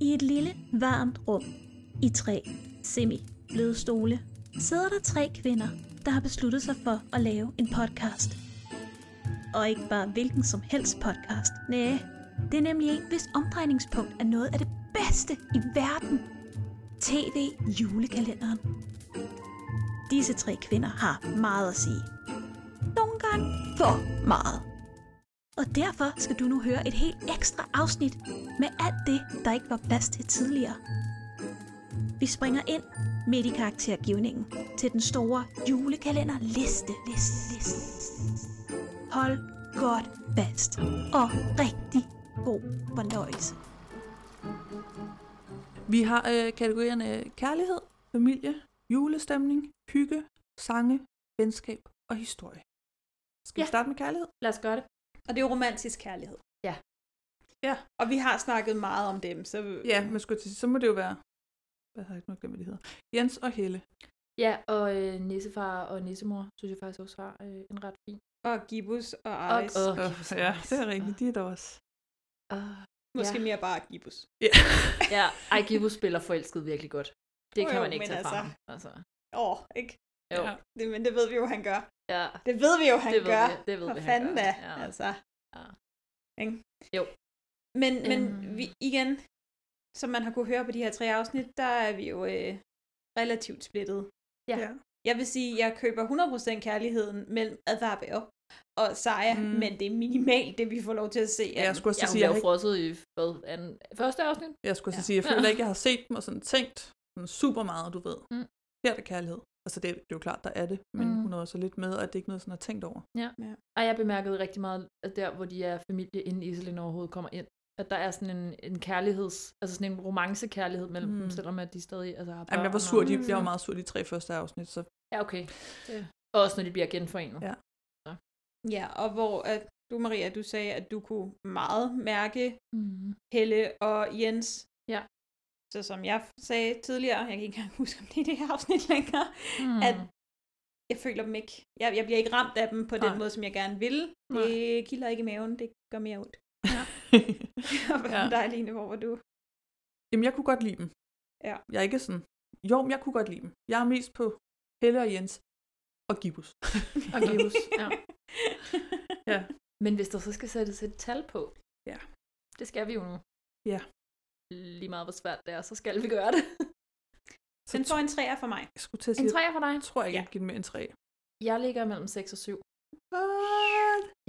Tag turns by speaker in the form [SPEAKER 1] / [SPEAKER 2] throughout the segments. [SPEAKER 1] I et lille, varmt rum i tre semi-bløde stole sidder der tre kvinder, der har besluttet sig for at lave en podcast. Og ikke bare hvilken som helst podcast. Næh, det er nemlig en, hvis omdrejningspunkt er noget af det bedste i verden. TV-julekalenderen. Disse tre kvinder har meget at sige. Nogle gange for meget. Og derfor skal du nu høre et helt ekstra afsnit med alt det, der ikke var plads til tidligere. Vi springer ind midt i karaktergivningen til den store julekalenderliste. Liste, liste. Hold godt fast og rigtig god fornøjelse.
[SPEAKER 2] Vi har øh, kategorierne kærlighed, familie, julestemning, hygge, sange, venskab og historie. Skal ja. vi
[SPEAKER 3] Ja.
[SPEAKER 2] starte med kærlighed?
[SPEAKER 3] Lad os gøre det.
[SPEAKER 4] Og det er jo romantisk kærlighed.
[SPEAKER 3] Ja.
[SPEAKER 2] Ja.
[SPEAKER 4] Og vi har snakket meget om dem, så...
[SPEAKER 2] Ja, men skulle jeg til, så må det jo være... Hvad har jeg ikke glemt, hvad de hedder? Jens og Helle.
[SPEAKER 3] Ja, og øh, nissefar og nissemor, synes jeg faktisk også har øh, en ret fin.
[SPEAKER 4] Og Gibbus og
[SPEAKER 3] Og,
[SPEAKER 4] Aris.
[SPEAKER 3] og,
[SPEAKER 4] Og,
[SPEAKER 2] Okay,
[SPEAKER 3] kæft,
[SPEAKER 2] ja,
[SPEAKER 3] nice.
[SPEAKER 2] det er rigtigt. De er der også.
[SPEAKER 3] Og,
[SPEAKER 4] Måske
[SPEAKER 3] ja.
[SPEAKER 4] mere bare Gibbus.
[SPEAKER 3] ja, ej, Gibo spiller forelsket virkelig godt. Det
[SPEAKER 4] Jo,
[SPEAKER 3] kan
[SPEAKER 4] jo,
[SPEAKER 3] man ikke
[SPEAKER 4] men
[SPEAKER 3] tage fra
[SPEAKER 4] altså-
[SPEAKER 3] ham. Altså.
[SPEAKER 4] Åh, oh, ikke?
[SPEAKER 3] Jo,
[SPEAKER 2] Ja.
[SPEAKER 4] Det, men det ved vi jo, han gør.
[SPEAKER 3] ja.
[SPEAKER 4] Det ved vi jo, han
[SPEAKER 3] Det ved
[SPEAKER 4] gør.
[SPEAKER 3] vi, det ved
[SPEAKER 4] Hvad
[SPEAKER 3] vi, han
[SPEAKER 4] fanden
[SPEAKER 3] gør.
[SPEAKER 4] da?
[SPEAKER 3] Ja.
[SPEAKER 4] Altså.
[SPEAKER 3] Ja.
[SPEAKER 4] Ikke?
[SPEAKER 3] Jo.
[SPEAKER 4] Men, men
[SPEAKER 3] Øhm.
[SPEAKER 4] vi, igen, som man har kunne høre på de her tre afsnit, der er vi jo øh, relativt splittet.
[SPEAKER 3] Ja.
[SPEAKER 2] Ja.
[SPEAKER 4] Jeg vil sige, jeg køber 100% kærligheden mellem Advarbe op og Saja,
[SPEAKER 2] Mm.
[SPEAKER 4] mm. men det er minimalt, det vi får lov til at se.
[SPEAKER 2] Ja, jeg skulle også
[SPEAKER 3] Ja, hun
[SPEAKER 2] sige,
[SPEAKER 3] blev
[SPEAKER 2] jeg,
[SPEAKER 3] jo
[SPEAKER 2] har ikke,
[SPEAKER 3] frosset i hvad, anden, første afsnit.
[SPEAKER 2] jeg skulle også
[SPEAKER 4] Ja.
[SPEAKER 2] sige, jeg
[SPEAKER 3] Ja.
[SPEAKER 2] føler ikke, jeg har set dem og sådan tænkt sådan super meget, du ved.
[SPEAKER 3] Mm.
[SPEAKER 2] Her er der kærlighed. Altså det, er- det er jo klart, der er det, men
[SPEAKER 3] Mm.
[SPEAKER 2] hun er også lidt med, og det er ikke noget, sådan har tænkt over.
[SPEAKER 3] Og jeg bemærkede rigtig meget, at der, hvor de er familie, inden Iselin overhovedet kommer ind, at der er sådan en, en kærligheds, altså sådan en romancekærlighed mellem mm.
[SPEAKER 2] Mm.
[SPEAKER 4] Hmm.
[SPEAKER 3] dem, selvom at de stadig altså, har børn.
[SPEAKER 2] Jamen, jeg var
[SPEAKER 3] og-
[SPEAKER 2] sur, de,
[SPEAKER 4] Mm.
[SPEAKER 2] jeg var meget sur de tre første afsnit, så
[SPEAKER 3] Ja, okay. Og også når de bliver genforenet.
[SPEAKER 2] Ja.
[SPEAKER 4] Ja, og hvor at du, Maria, du sagde, at du kunne meget mærke
[SPEAKER 3] Mm.
[SPEAKER 4] Helle og Jens.
[SPEAKER 3] Ja.
[SPEAKER 4] Så som jeg sagde tidligere, jeg kan ikke engang huske, om det er det her afsnit længere,
[SPEAKER 3] Mm.
[SPEAKER 4] At- jeg føler dem ikke. Jeg, jeg bliver ikke ramt af dem på den
[SPEAKER 2] Nej.
[SPEAKER 4] måde, som jeg gerne vil. Det kilder ikke i maven, det gør mere ondt. Og hvad
[SPEAKER 2] Ja.
[SPEAKER 4] med dig, Line, hvor var du?
[SPEAKER 2] Jamen, jeg kunne godt lide dem.
[SPEAKER 4] Ja.
[SPEAKER 2] Jeg er ikke sådan, jo, men jeg kunne godt lide dem. Jeg er mest på Helle og Jens og Gibus.
[SPEAKER 3] og Gibus. ja.
[SPEAKER 2] Ja.
[SPEAKER 3] Men hvis der så skal sættes et tal på,
[SPEAKER 2] Ja.
[SPEAKER 3] det skal vi jo nu.
[SPEAKER 2] Ja.
[SPEAKER 3] Lige meget hvor svært det er, så skal vi gøre det.
[SPEAKER 2] Så
[SPEAKER 4] Den får en træer for mig.
[SPEAKER 2] jeg skulle til at
[SPEAKER 3] En
[SPEAKER 2] sige,
[SPEAKER 3] træer for dig.
[SPEAKER 2] jeg tror ikke,
[SPEAKER 4] Ja.
[SPEAKER 2] jeg kan give den mere end tre.
[SPEAKER 3] Jeg ligger mellem 6 og 7.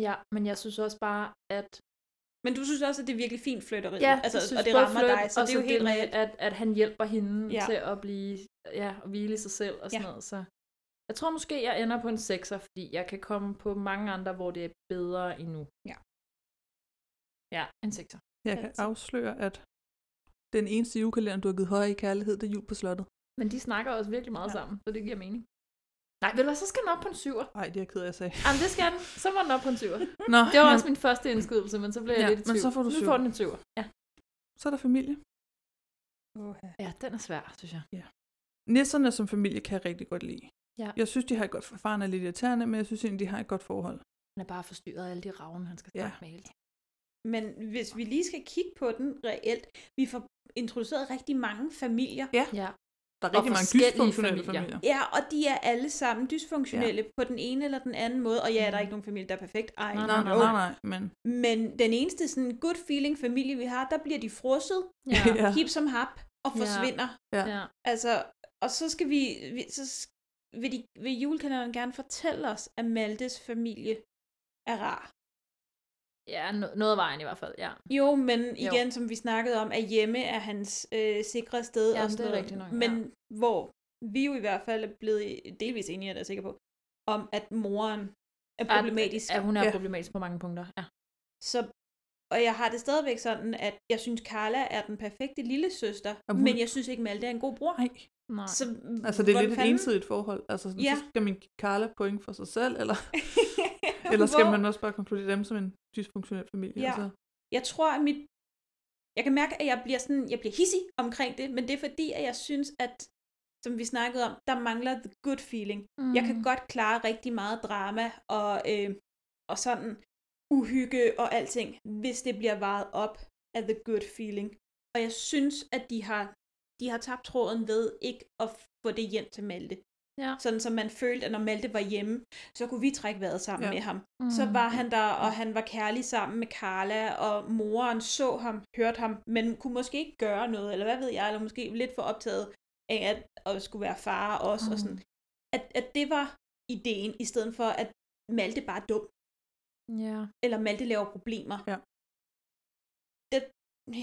[SPEAKER 3] Ja, men jeg synes også bare, at
[SPEAKER 4] Men du synes også, at det er virkelig fint flytteri.
[SPEAKER 3] Ja,
[SPEAKER 4] altså,
[SPEAKER 3] jeg synes
[SPEAKER 4] og det
[SPEAKER 3] både
[SPEAKER 4] rammer
[SPEAKER 3] flirt,
[SPEAKER 4] dig, så
[SPEAKER 3] og
[SPEAKER 4] det er jo helt
[SPEAKER 3] med,
[SPEAKER 4] reelt.
[SPEAKER 3] At, at han hjælper hende
[SPEAKER 4] Ja.
[SPEAKER 3] ja. til at blive, ja, at hvile i sig selv og sådan
[SPEAKER 4] Ja.
[SPEAKER 3] ja. noget. Så jeg tror måske, jeg ender på en 6'er, fordi jeg kan komme på mange andre, hvor det er bedre endnu.
[SPEAKER 4] Ja.
[SPEAKER 3] Ja, en 6'er.
[SPEAKER 2] Jeg kan
[SPEAKER 4] Altid.
[SPEAKER 2] afsløre, at den eneste julekalender, du har givet højere i kærlighed, det er jul på slottet.
[SPEAKER 3] Men de snakker også virkelig meget
[SPEAKER 2] Ja.
[SPEAKER 3] ja. sammen, så det giver mening. Nej, ved du hvad, så skal den op på en 7'er.
[SPEAKER 2] Ej, det er jeg ked af, jeg sagde.
[SPEAKER 3] Jamen, det skal den. Så var den op på en 7'er.
[SPEAKER 2] Nå,
[SPEAKER 3] Det var
[SPEAKER 2] men-
[SPEAKER 3] også min første indskydelse, men så blev jeg
[SPEAKER 2] Ja,
[SPEAKER 3] lidt i
[SPEAKER 2] men
[SPEAKER 3] tvivl.
[SPEAKER 2] så får du
[SPEAKER 3] nu
[SPEAKER 2] syver.
[SPEAKER 3] får den en 7'er. Ja.
[SPEAKER 2] så er der familie.
[SPEAKER 3] ja, den er svær, synes jeg.
[SPEAKER 2] Nisserne som familie kan jeg rigtig godt lide.
[SPEAKER 3] Ja.
[SPEAKER 2] Jeg synes, de har et godt forfarende lidt irriterende, men jeg synes egentlig, de har et godt forhold.
[SPEAKER 3] Han er bare forstyrret af alle de ravne, han skal
[SPEAKER 2] Ja.
[SPEAKER 3] snakke med hele tiden.
[SPEAKER 4] Men hvis vi lige skal kigge på den reelt, vi får introduceret rigtig mange familier.
[SPEAKER 3] Ja.
[SPEAKER 2] Der er rigtig mange
[SPEAKER 3] forskellige
[SPEAKER 2] dysfunktionelle
[SPEAKER 3] familier.
[SPEAKER 2] familier.
[SPEAKER 4] Ja, og de er alle sammen dysfunktionelle ja. på den ene eller den anden måde. Og ja, der er ikke nogen familie, der er perfekt. Ej,
[SPEAKER 3] Mm. Nej,
[SPEAKER 2] Nej,
[SPEAKER 4] no.
[SPEAKER 2] nej, nej, nej, men
[SPEAKER 4] Men den eneste sådan good feeling familie, vi har, der bliver de frosset,
[SPEAKER 3] Ja.
[SPEAKER 2] Ja.
[SPEAKER 4] ja. hip som hap, og
[SPEAKER 3] Ja.
[SPEAKER 4] forsvinder.
[SPEAKER 3] ja.
[SPEAKER 4] Altså, og så skal vi, vi så s- vil, de, vil julekalenderen gerne fortælle os, at Maltes familie er rar.
[SPEAKER 3] Ja, no- noget af vejen i hvert fald, ja.
[SPEAKER 4] Jo, men igen, jo. som vi snakkede om, at hjemme er hans øh, sikre sted.
[SPEAKER 3] Jamen,
[SPEAKER 4] og
[SPEAKER 3] det
[SPEAKER 4] sådan
[SPEAKER 3] er
[SPEAKER 4] noget.
[SPEAKER 3] rigtigt nok,
[SPEAKER 4] Men hvor vi jo i hvert fald er blevet delvis enige, er jeg da sikker på, om at moren er problematisk.
[SPEAKER 3] At, at hun er
[SPEAKER 2] Ja.
[SPEAKER 3] ja. problematisk på mange punkter. Ja.
[SPEAKER 4] Så, og jeg har det stadigvæk sådan, at jeg synes, Carla er den perfekte lille søster,
[SPEAKER 2] Jamen, hun-
[SPEAKER 4] men jeg synes ikke, Malte er en god bror.
[SPEAKER 2] nej.
[SPEAKER 3] Nej.
[SPEAKER 4] Så,
[SPEAKER 2] Altså, det er
[SPEAKER 4] hvordan
[SPEAKER 2] lidt et
[SPEAKER 4] fanden-
[SPEAKER 2] ensidigt forhold. Altså, sådan, ja.
[SPEAKER 4] Ja.
[SPEAKER 2] så skal min Carla point for sig selv, eller, eller skal
[SPEAKER 4] Hvor-
[SPEAKER 2] man også bare konkludere dem som en dysfunktionel familie?
[SPEAKER 4] Ja.
[SPEAKER 2] Altså,
[SPEAKER 4] Jeg tror, at mit... Jeg kan mærke, at jeg bliver, sådan, jeg bliver hissig omkring det, men det er fordi, at jeg synes, at som vi snakkede om, der mangler the good feeling. Mm. Jeg kan godt klare rigtig meget drama og, øh, og sådan uhygge og alting, hvis det bliver varet op af the good feeling. Og jeg synes, at de har, de har tabt tråden ved ikke at få det hjem til Malte.
[SPEAKER 3] Ja.
[SPEAKER 4] Sådan som man følte, at når Malte var hjemme, så kunne vi trække vejret sammen
[SPEAKER 2] Ja.
[SPEAKER 4] med ham.
[SPEAKER 3] Mm.
[SPEAKER 4] Så var han der, og han var kærlig sammen med Carla, og moren så ham, hørte ham, men kunne måske ikke gøre noget, eller hvad ved jeg, eller måske lidt for optaget af at, at skulle være far også, mm. og sådan. At, at det var ideen, i stedet for at Malte bare er dum,
[SPEAKER 3] Ja.
[SPEAKER 4] eller Malte laver problemer.
[SPEAKER 2] Ja.
[SPEAKER 4] Det,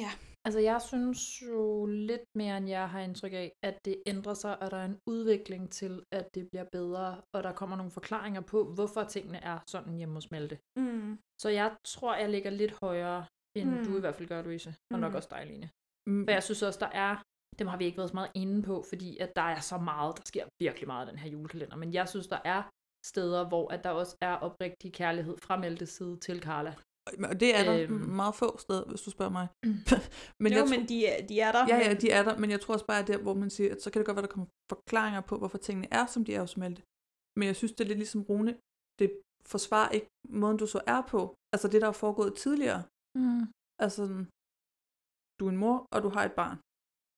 [SPEAKER 4] ja.
[SPEAKER 3] Altså, jeg synes jo lidt mere, end jeg har indtryk af, at det ændrer sig, og der er en udvikling til, at det bliver bedre, og der kommer nogle forklaringer på, hvorfor tingene er sådan hjemme hos Malte.
[SPEAKER 4] Mm.
[SPEAKER 3] Så jeg tror, jeg ligger lidt højere, end
[SPEAKER 4] Mm.
[SPEAKER 3] mm. du i hvert fald gør, Louise, og nok
[SPEAKER 4] Mm.
[SPEAKER 3] også dig, Line.
[SPEAKER 2] Mm,
[SPEAKER 3] For jeg synes også, der er, dem har vi ikke været så meget inde på, fordi at der er så meget, der sker virkelig meget i den her julekalender, men jeg synes, der er steder, hvor at der også er oprigtig kærlighed fra Mæltes side til Carla.
[SPEAKER 2] og det er der
[SPEAKER 3] Øhm.
[SPEAKER 2] meget få steder, hvis du spørger mig.
[SPEAKER 4] Mm.
[SPEAKER 2] men
[SPEAKER 4] jo,
[SPEAKER 2] jeg tror,
[SPEAKER 4] men de, er- de er der.
[SPEAKER 2] Ja, ja, de er der, men jeg tror også bare, at der, hvor man siger, at så kan det godt være, der kommer forklaringer på, hvorfor tingene er, som de er hos Malte. Men jeg synes, det er lidt ligesom Rune, det forsvarer ikke måden, du så er på. Altså det, der er foregået tidligere.
[SPEAKER 3] Mm.
[SPEAKER 2] Altså, sådan, du er en mor, og du har et barn.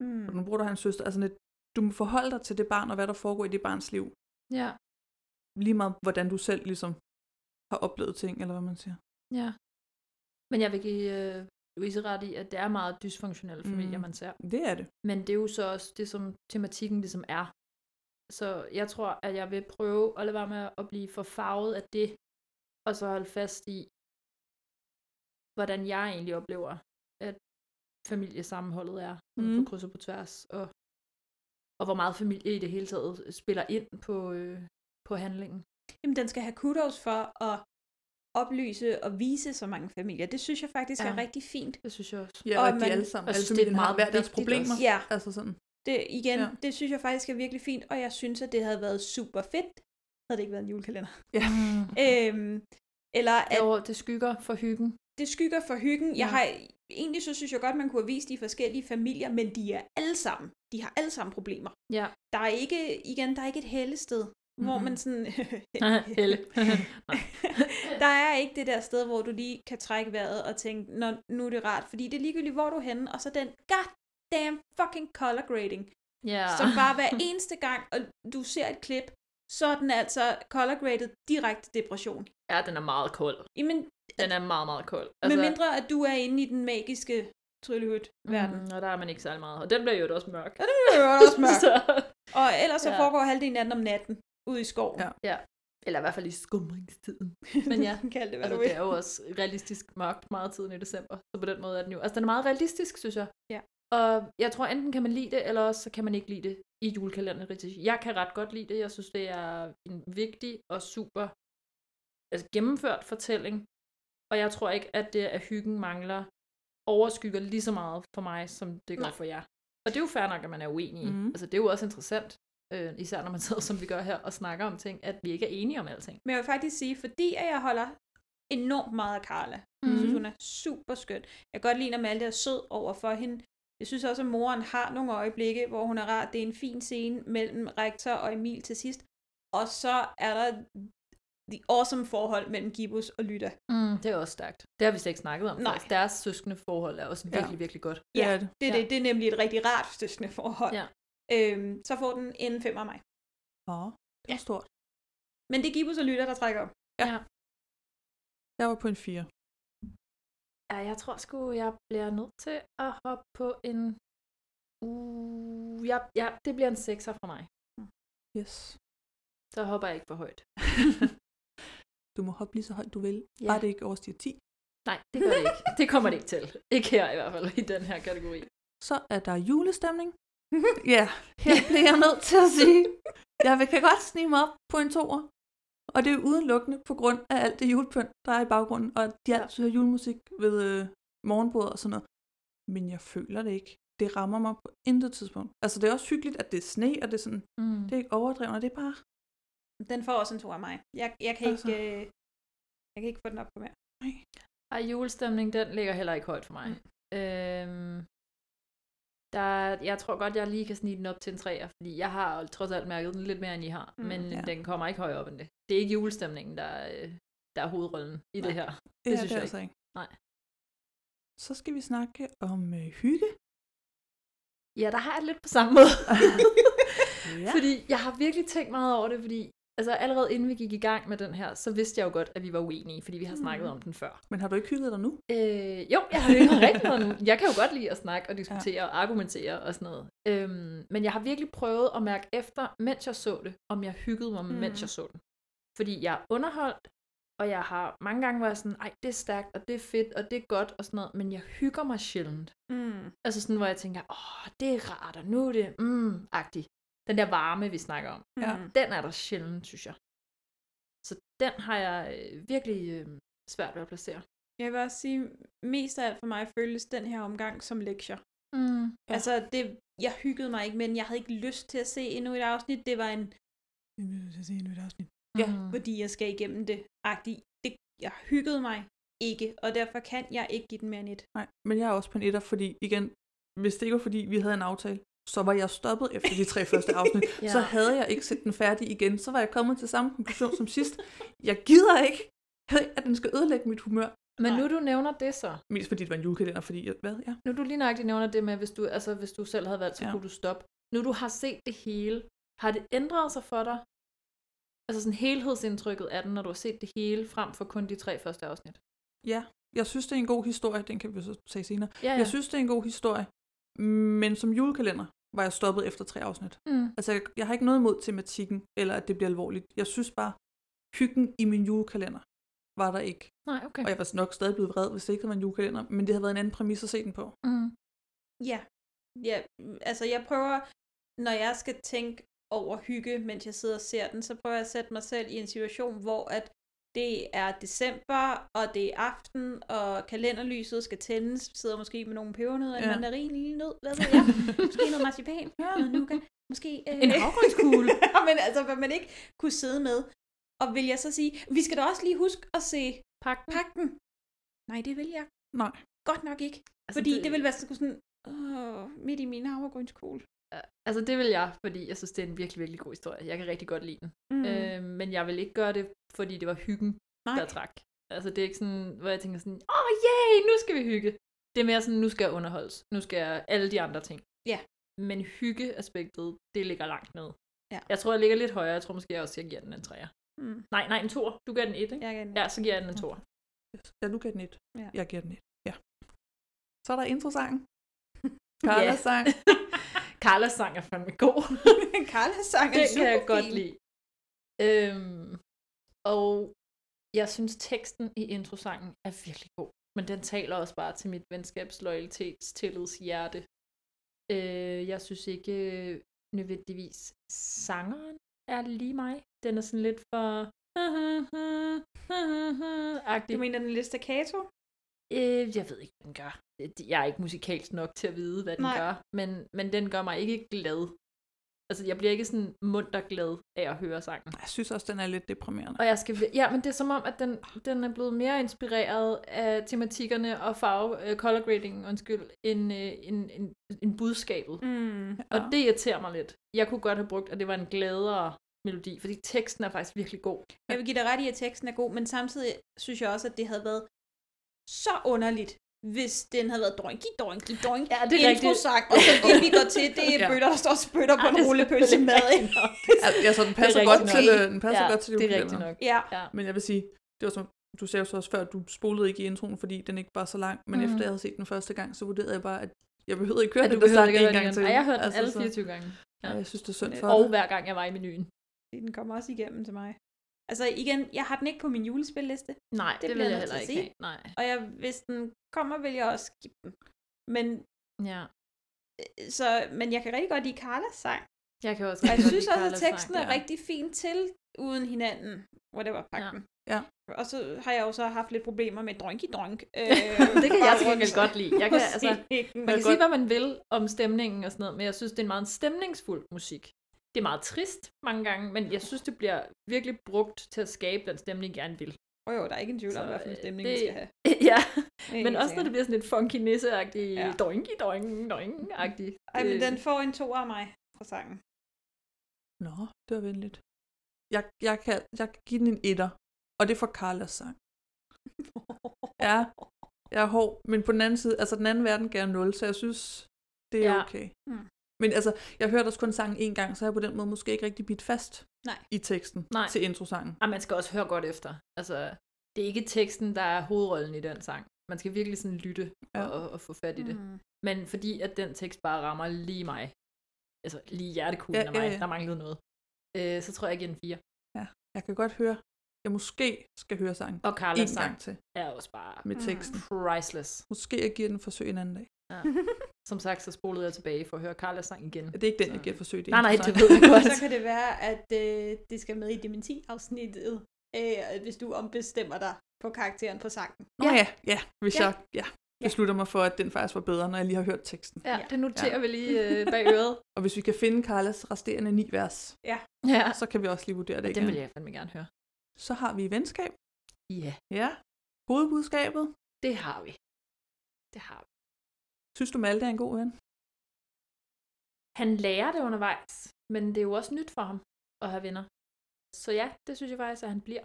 [SPEAKER 4] Mm.
[SPEAKER 2] Og din bror, der har en søster. Altså, lidt, du må forholde dig til det barn, og hvad der foregår i det barns liv.
[SPEAKER 3] Ja,
[SPEAKER 2] Lige meget, hvordan du selv ligesom har oplevet ting, eller hvad man siger.
[SPEAKER 3] ja. Men jeg vil give øh, Louise ret i, at det er meget dysfunktionelle familier,
[SPEAKER 2] Mm.
[SPEAKER 3] mm. man ser.
[SPEAKER 2] Det er det.
[SPEAKER 3] Men det er jo så også det, som tematikken ligesom er. Så jeg tror, at jeg vil prøve at lade være med at blive for farvet af det, og så holde fast i, hvordan jeg egentlig oplever, at familiesammenholdet er mm.
[SPEAKER 2] Mm.
[SPEAKER 4] Mhm.
[SPEAKER 3] på kryds og på tværs, og, og hvor meget familie i det hele taget spiller ind på, øh, på handlingen.
[SPEAKER 4] Jamen, den skal have kudos for at oplyse og vise så mange familier. Det synes jeg faktisk ja. er
[SPEAKER 3] Ja.
[SPEAKER 4] rigtig fint.
[SPEAKER 3] Det synes jeg også.
[SPEAKER 2] Ja,
[SPEAKER 4] Og
[SPEAKER 2] og, og de
[SPEAKER 4] man-
[SPEAKER 2] alle sammen,
[SPEAKER 3] jeg
[SPEAKER 2] alle
[SPEAKER 3] synes, det er
[SPEAKER 2] familien har
[SPEAKER 3] meget
[SPEAKER 2] hver deres
[SPEAKER 3] vigtigt
[SPEAKER 2] problemer.
[SPEAKER 3] også.
[SPEAKER 4] Ja,
[SPEAKER 2] Altså sådan.
[SPEAKER 4] det, igen, ja.
[SPEAKER 2] Ja.
[SPEAKER 4] det synes jeg faktisk er virkelig fint, og jeg synes, at det havde været super fedt, havde det ikke været en julekalender.
[SPEAKER 2] Ja.
[SPEAKER 3] Mm.
[SPEAKER 4] Øhm, eller at
[SPEAKER 3] Jo, det skygger for hyggen.
[SPEAKER 4] det skygger for hyggen. Jeg
[SPEAKER 2] Ja.
[SPEAKER 4] har, egentlig så synes jeg godt, man kunne have vist de forskellige familier, men de er alle sammen. De har alle sammen problemer.
[SPEAKER 3] Ja.
[SPEAKER 4] Der er ikke, igen, der er ikke et hellested, mm-hmm. hvor
[SPEAKER 2] Mhm.
[SPEAKER 4] man sådan...
[SPEAKER 3] Helle.
[SPEAKER 4] der er ikke det der sted, hvor du lige kan trække vejret og tænke, Nå, nu er det rart, fordi det er ligegyldigt, hvor du er henne, og så den goddamn fucking color grading,
[SPEAKER 3] ja.
[SPEAKER 4] ja. som bare hver eneste gang, og du ser et klip, så er den altså color graded direkte depression.
[SPEAKER 3] ja, den er meget kold.
[SPEAKER 4] Jamen,
[SPEAKER 3] Den er meget, meget kold.
[SPEAKER 4] altså... med mindre at du er inde i den magiske tryllehut-verden.
[SPEAKER 3] Mm, og der er man ikke særlig meget. Og den bliver jo også mørk.
[SPEAKER 4] Mm. Det er også mørkt.
[SPEAKER 3] Så,
[SPEAKER 4] Og ellers så
[SPEAKER 3] Ja.
[SPEAKER 4] foregår halvdelen af den om natten, ude i skoven.
[SPEAKER 2] Ja.
[SPEAKER 3] eller i hvert fald i skumringstiden. Men ja,
[SPEAKER 4] Kald det, hvad
[SPEAKER 3] altså,
[SPEAKER 4] du
[SPEAKER 3] det
[SPEAKER 4] vil.
[SPEAKER 3] er jo også realistisk mørkt meget tiden i december. Så på den måde er den jo. Altså, den er meget realistisk, synes jeg.
[SPEAKER 4] Ja.
[SPEAKER 3] Og jeg tror, enten kan man lide det, eller også så kan man ikke lide det i julekalenderen. rigtig. Jeg kan ret godt lide det. Jeg synes, det er en vigtig og super altså, gennemført fortælling. Og jeg tror ikke, at det, at hyggen mangler, overskygger lige så meget for mig, som det gør
[SPEAKER 4] Nej.
[SPEAKER 3] for jer. Og det er jo fair nok, at man er uenig. Mm.
[SPEAKER 2] Mhm.
[SPEAKER 3] Altså, det er jo også interessant, øh, især når man sidder, som vi gør her, og snakker om ting, at vi ikke er enige om alting.
[SPEAKER 4] Men jeg vil faktisk sige, fordi at jeg holder enormt meget af Carla, mm. jeg synes, hun er super skøn. Jeg kan godt lide, at Malte er sød over for hende. Jeg synes også, at moren har nogle øjeblikke, hvor hun er rar. Det er en fin scene mellem rektor og Emil til sidst. Og så er der the awesome forhold mellem Gibus og Lytta.
[SPEAKER 3] Mm, det er også stærkt. Det har vi slet ikke snakket om.
[SPEAKER 4] Nej.
[SPEAKER 3] faktisk. Deres søskende forhold er også virkelig, ja. virkelig godt.
[SPEAKER 2] Det
[SPEAKER 4] Ja.
[SPEAKER 2] er det.
[SPEAKER 4] Det, ja.
[SPEAKER 3] Ja.
[SPEAKER 4] det, det er nemlig et rigtig rart søskende forhold.
[SPEAKER 3] Ja.
[SPEAKER 4] Øhm, så får den en fem af mig.
[SPEAKER 2] Åh, det var stort.
[SPEAKER 4] Men det er Gibus og Lytta, der trækker op.
[SPEAKER 2] Jeg var på en 4.
[SPEAKER 3] Ja, jeg tror sgu, jeg bliver nødt til at hoppe på en... Uh, ja, ja, det bliver en sekser for mig.
[SPEAKER 2] Yes.
[SPEAKER 3] Så hopper jeg ikke for højt.
[SPEAKER 2] Du må hoppe lige så højt, du vil.
[SPEAKER 3] Ja.
[SPEAKER 2] Ja. Bare det ikke overstiger 10.
[SPEAKER 3] Nej, det gør det ikke. Det kommer det ikke til. Ikke her i hvert fald, i den her kategori.
[SPEAKER 2] Så er der julestemning. ja, her bliver jeg nødt til at sige, jeg vil- kan godt snige mig op på en toer. Og det er udelukkende på grund af alt det julepynt, der er i baggrunden, og at de
[SPEAKER 3] Ja.
[SPEAKER 2] altid hører julemusik ved øh, morgenbordet og sådan noget. Men jeg føler det ikke. Det rammer mig på intet tidspunkt. Altså, det er også hyggeligt, at det er sne, og det er, sådan,
[SPEAKER 3] Mm.
[SPEAKER 2] det er ikke overdrevet, og det er bare...
[SPEAKER 4] Den får også en to af mig. Jeg, jeg, kan,
[SPEAKER 2] Altså.
[SPEAKER 4] ikke, øh, jeg kan ikke få den op på mere.
[SPEAKER 3] Ej, julestemning, den ligger heller ikke højt for mig. Mm. Øhm, der, jeg tror godt, jeg lige kan snige den op til en træer, fordi jeg har jo trods alt mærket den lidt mere, end I har,
[SPEAKER 4] Mm,
[SPEAKER 3] mm, men
[SPEAKER 2] ja.
[SPEAKER 3] ja. den kommer ikke højere op end det. Det er ikke julestemningen, der, er, øh, der er hovedrollen i det her.
[SPEAKER 2] Det,
[SPEAKER 3] synes
[SPEAKER 2] er
[SPEAKER 3] jeg
[SPEAKER 2] altså ikke.
[SPEAKER 3] Nej.
[SPEAKER 2] Så skal vi snakke om øh, hygge.
[SPEAKER 3] Ja, der har jeg det lidt på samme måde.
[SPEAKER 2] Ja.
[SPEAKER 3] Fordi jeg har virkelig tænkt meget over det, fordi altså, allerede inden vi gik i gang med den her, så vidste jeg jo godt, at vi var uenige, fordi vi har snakket om den før.
[SPEAKER 2] Men har du ikke hygget dig nu?
[SPEAKER 3] Øh, jo, jeg har hørt rigtig meget nu. Jeg kan jo godt lide at snakke og diskutere ja. og argumentere og sådan noget. Øhm, men jeg har virkelig prøvet at mærke efter, mens jeg så det, om jeg hyggede mig, mm. mens jeg så den. Fordi jeg er underholdt, og jeg har mange gange været sådan, ej, det er stærkt, og det er fedt, og det er godt, og sådan noget, men jeg hygger mig sjældent.
[SPEAKER 4] Mm.
[SPEAKER 3] Altså sådan, hvor jeg tænker, åh, det er rart, og nu er det, mm, agtig. Den der varme, vi snakker om
[SPEAKER 2] Ja.
[SPEAKER 4] Mm.
[SPEAKER 3] den er der sjældent, synes jeg. Så den har jeg øh, virkelig øh, svært ved at placere.
[SPEAKER 4] Jeg vil også sige, mest af alt for mig føles den her omgang som lektier.
[SPEAKER 3] Mm.
[SPEAKER 4] Ja. Altså, det, jeg hyggede mig ikke, men jeg havde ikke lyst til at se endnu et afsnit. Det var en,
[SPEAKER 2] Ja,
[SPEAKER 3] Mm.
[SPEAKER 4] fordi jeg skal igennem det, agtig. Det, jeg hyggede mig ikke, og derfor kan jeg ikke give den mere end et.
[SPEAKER 2] Nej, men jeg er også på en etter, fordi igen, hvis det ikke var fordi, vi havde en aftale, så var jeg stoppet efter de tre første afsnit.
[SPEAKER 3] Ja.
[SPEAKER 2] ja. Så havde jeg ikke set den færdig igen. Så var jeg kommet til samme konklusion som sidst. Jeg gider ikke, at den skal ødelægge mit humør.
[SPEAKER 3] Men nu du nævner det så,
[SPEAKER 2] Mest fordi det var en julekalender, fordi jeg, hvad? Ja.
[SPEAKER 3] nu du lige nøjagtigt nævner det med, hvis du, altså, hvis du selv havde valgt, så ja.
[SPEAKER 2] Ja.
[SPEAKER 3] kunne du stoppe. Nu du har set det hele, har det ændret sig for dig? Altså sådan helhedsindtrykket af den, når du har set det hele, frem for kun de tre første afsnit.
[SPEAKER 2] ja. Jeg synes, det er en god historie. Den kan vi så tage senere.
[SPEAKER 3] Ja,
[SPEAKER 2] Ja. Jeg synes, det er en god historie. Men som julekalender var jeg stoppet efter tre afsnit.
[SPEAKER 3] mm.
[SPEAKER 2] Altså, jeg, jeg har ikke noget imod tematikken, eller at det bliver alvorligt. Jeg synes bare, hyggen i min julekalender var der ikke.
[SPEAKER 3] Nej, okay.
[SPEAKER 2] Og jeg var nok stadig blevet vred, hvis det ikke havde været en julekalender, men det havde været en anden præmis at se den på.
[SPEAKER 3] Mm.
[SPEAKER 4] Ja. ja. Altså, jeg prøver, når jeg skal tænke over hygge, mens jeg sidder og ser den, så prøver jeg at sætte mig selv i en situation, hvor at det er december, og det er aften, og kalenderlyset skal tændes. Sidder måske med nogle pebernødder, ja. en
[SPEAKER 2] Ja.
[SPEAKER 4] mandarin, en lille nød, hvad ved jeg. måske noget marcipan,
[SPEAKER 2] Ja.
[SPEAKER 4] noget nougat, måske... Øh...
[SPEAKER 3] En afgrønskugle.
[SPEAKER 4] Ja, men altså, hvad man ikke kunne sidde med. Og vil jeg så sige, vi skal da også lige huske at se
[SPEAKER 3] Pak den.
[SPEAKER 4] pakken. Mm. Nej, det vil jeg
[SPEAKER 2] Nej.
[SPEAKER 4] godt nok ikke. Altså, fordi det... det ville være sådan, sådan åh, midt i min havregrynskål.
[SPEAKER 3] Altså det vil jeg, fordi jeg synes, det er en virkelig, virkelig god historie. Jeg kan rigtig godt lide den.
[SPEAKER 4] Mm.
[SPEAKER 3] Mm. Øh, men jeg vil ikke gøre det, fordi det var hyggen,
[SPEAKER 4] Nej.
[SPEAKER 3] der trak. Altså det er ikke sådan, hvor jeg tænker sådan, åh oh, yay, nu skal vi hygge. Det er mere sådan, nu skal jeg underholdes. Nu skal jeg alle de andre ting.
[SPEAKER 4] Ja.
[SPEAKER 3] Men hyggeaspektet, det ligger langt ned.
[SPEAKER 4] Ja.
[SPEAKER 3] Jeg tror, jeg ligger lidt højere. Jeg tror måske også, jeg giver den en træer.
[SPEAKER 4] Mm.
[SPEAKER 3] Nej, nej, en tor. Du giver den et, ikke?
[SPEAKER 4] Jeg kan...
[SPEAKER 3] Ja, så giver jeg den en tor.
[SPEAKER 2] Yes. Ja, du gav den et.
[SPEAKER 4] Ja.
[SPEAKER 2] Jeg giver den et. Ja. Så er der introsangen. Carlas sang.
[SPEAKER 3] Carlas sang er fandme god.
[SPEAKER 4] Karl har sang
[SPEAKER 3] det kan jeg godt lide. Øhm, og jeg synes, teksten i introsangen er virkelig god. Men den taler også bare til mit venskabs, lojalitets, tillids hjerte. Øh, jeg synes ikke øh, nødvendigvis, sangeren er lige mig. Den er sådan lidt for... Agtig.
[SPEAKER 4] Du mener den lidt staccato?
[SPEAKER 3] Øh, jeg ved ikke, hvad den gør. Det- Jeg er ikke musikalsk nok til at vide, hvad den
[SPEAKER 4] Nej.
[SPEAKER 3] gør, men, men den gør mig ikke glad. Altså, jeg bliver ikke sådan munter glad af at høre sangen.
[SPEAKER 2] Jeg synes også, den er lidt deprimerende.
[SPEAKER 3] Og jeg skal... Ja, men det er som om, at den, den er blevet mere inspireret af tematikkerne og farve, øh, color grading, undskyld, end, øh, end, end, end budskabet.
[SPEAKER 4] Mm.
[SPEAKER 3] Og det irriterer mig lidt. Jeg kunne godt have brugt, at det var en gladere melodi, fordi teksten er faktisk virkelig god.
[SPEAKER 4] Jeg vil give dig ret i, at teksten er god, men samtidig synes jeg også, at det havde været så underligt, hvis den havde været doinki, doinki, doinki.
[SPEAKER 3] Ja, det er rigtigt.
[SPEAKER 4] Sang, og så det, vi går til, det er
[SPEAKER 2] Ja.
[SPEAKER 4] bøtter, der står og spytter på
[SPEAKER 3] Ej,
[SPEAKER 4] en
[SPEAKER 3] det er
[SPEAKER 4] rullepølse mad.
[SPEAKER 3] selvfølgelig rigtigt nok.
[SPEAKER 2] Altså, altså, den
[SPEAKER 3] Det er
[SPEAKER 2] passer
[SPEAKER 3] rigtigt
[SPEAKER 2] godt
[SPEAKER 3] nok.
[SPEAKER 2] til, øh, den passer
[SPEAKER 3] ja,
[SPEAKER 2] godt til
[SPEAKER 3] det er rigtigt
[SPEAKER 2] julekalenderen.
[SPEAKER 3] nok.
[SPEAKER 4] Ja.
[SPEAKER 2] Men jeg vil sige, det var som, du sagde jo så også før, at du spolede ikke i introen, fordi den ikke var så lang. Men
[SPEAKER 3] Mm.
[SPEAKER 2] mm. efter jeg havde set den første gang, så vurderede jeg bare, at jeg behøvede ikke høre
[SPEAKER 3] At du
[SPEAKER 2] den der
[SPEAKER 3] behøver
[SPEAKER 2] sang
[SPEAKER 3] ikke Altså,
[SPEAKER 2] en
[SPEAKER 3] høre
[SPEAKER 2] gang
[SPEAKER 3] den
[SPEAKER 2] til. Altså,
[SPEAKER 3] igen. Ej, jeg har hørt den alle
[SPEAKER 2] så-
[SPEAKER 3] 24 gange.
[SPEAKER 2] Ja.
[SPEAKER 3] Ja.
[SPEAKER 2] Jeg synes, det er synd for
[SPEAKER 3] Og
[SPEAKER 2] dig.
[SPEAKER 3] hver gang jeg var i menuen.
[SPEAKER 4] Den kommer også igennem til mig. Altså igen, jeg har den ikke på min julespilliste,
[SPEAKER 3] Nej, det, det
[SPEAKER 4] Det
[SPEAKER 3] vil
[SPEAKER 4] bliver
[SPEAKER 3] jeg
[SPEAKER 4] jeg nødt
[SPEAKER 3] heller
[SPEAKER 4] til at
[SPEAKER 3] ikke
[SPEAKER 4] sige.
[SPEAKER 3] have. Nej.
[SPEAKER 4] og jeg, hvis den kommer, vil jeg også give den. Men,
[SPEAKER 3] Ja.
[SPEAKER 4] øh, så, men jeg kan rigtig godt lide Carlas sang.
[SPEAKER 3] Jeg kan også
[SPEAKER 4] Og jeg
[SPEAKER 3] godt
[SPEAKER 4] synes
[SPEAKER 3] lide
[SPEAKER 4] også, at
[SPEAKER 3] Carlas sang.
[SPEAKER 4] teksten er
[SPEAKER 2] ja.
[SPEAKER 4] rigtig fin til uden hinanden. Whatever, pakken.
[SPEAKER 2] Ja.
[SPEAKER 4] Og så har jeg jo så haft lidt problemer med drønk i drønk. Øh,
[SPEAKER 3] Det kan jeg til gengæld godt lide. Jeg kan, altså, man kan
[SPEAKER 2] godt-
[SPEAKER 3] sige, hvad man vil om stemningen og sådan noget, men jeg synes, det er en meget stemningsfuld musik. Det er meget trist mange gange, men jeg synes, det bliver virkelig brugt til at skabe den stemning, jeg gerne vil.
[SPEAKER 4] Oh, jo, der er ikke en tvivl om,
[SPEAKER 3] Så,
[SPEAKER 4] hvad for en
[SPEAKER 3] øh,
[SPEAKER 4] stemning,
[SPEAKER 3] det-
[SPEAKER 4] vi skal have.
[SPEAKER 3] ja,
[SPEAKER 4] Helt
[SPEAKER 3] men også når det
[SPEAKER 4] sikkert.
[SPEAKER 3] bliver sådan lidt funky nisse-agtig, ja.
[SPEAKER 4] Ja.
[SPEAKER 3] doinky doing doing agtig
[SPEAKER 4] Ej, men den får en to af mig fra sangen.
[SPEAKER 2] Nå, det var venligt. Jeg, jeg, kan, jeg kan give den en etter, og det er for Carlas sang. Ja, jeg er hård, men på den anden side, altså den anden verden gav 0, så jeg synes, Det er
[SPEAKER 3] Ja. Hmm.
[SPEAKER 2] ja. okay.
[SPEAKER 4] Mm.
[SPEAKER 2] Men altså, jeg hørte også kun sangen en gang, så har jeg på den måde måske ikke rigtig bidt fast
[SPEAKER 4] Nej.
[SPEAKER 2] i teksten
[SPEAKER 3] Nej.
[SPEAKER 2] til introsangen.
[SPEAKER 3] Og man skal også høre godt efter. Altså, det er ikke teksten, der er hovedrollen i den sang. Man skal virkelig sådan lytte ja.
[SPEAKER 2] Ja.
[SPEAKER 3] og, og, og få fat i det. Mm. Men fordi at den tekst bare rammer lige mig, altså lige hjertekuglen ja,
[SPEAKER 2] Ja,
[SPEAKER 3] af mig,
[SPEAKER 2] ja, ja.
[SPEAKER 3] der manglede noget, øh, så tror jeg igen fire.
[SPEAKER 2] Jeg kan godt høre, jeg måske skal høre sangen
[SPEAKER 3] Og
[SPEAKER 2] en
[SPEAKER 3] Carlas sang Hmm.
[SPEAKER 2] gang til
[SPEAKER 3] er også bare
[SPEAKER 2] med
[SPEAKER 4] Mm.
[SPEAKER 2] teksten.
[SPEAKER 3] priceless.
[SPEAKER 2] Måske jeg giver den et forsøg en anden dag.
[SPEAKER 3] Som sagt, så spolede jeg tilbage for at høre Carlas sang igen.
[SPEAKER 2] Det er ikke den, jeg giver et forsøg. Det er
[SPEAKER 3] Nej, nej, det
[SPEAKER 2] introsangen.
[SPEAKER 3] ved jeg godt.
[SPEAKER 4] Så kan det være, at øh, det skal med i dementi-afsnittet, øh, hvis du ombestemmer dig på karakteren på sangen.
[SPEAKER 2] Nå ja, ja. Hvis
[SPEAKER 4] Ja.
[SPEAKER 2] ja. jeg ja, beslutter mig for, at den faktisk var bedre, når jeg lige har hørt teksten.
[SPEAKER 3] Ja,
[SPEAKER 4] Ja.
[SPEAKER 3] det noterer ja. vi lige øh, bag øret.
[SPEAKER 2] Og hvis vi kan finde Carlas resterende ni vers,
[SPEAKER 3] Ja,
[SPEAKER 2] så kan vi også lige vurdere det
[SPEAKER 3] det
[SPEAKER 2] igen.
[SPEAKER 3] vil jeg fandme gerne høre.
[SPEAKER 2] Så har vi venskab.
[SPEAKER 3] Ja,
[SPEAKER 2] Ja. Hovedbudskabet.
[SPEAKER 3] det har vi. Det har vi.
[SPEAKER 2] Synes du, Malte er en god ven?
[SPEAKER 3] Han lærer det undervejs, men det er jo også nyt for ham at have venner. Så ja, det synes jeg faktisk, at han bliver.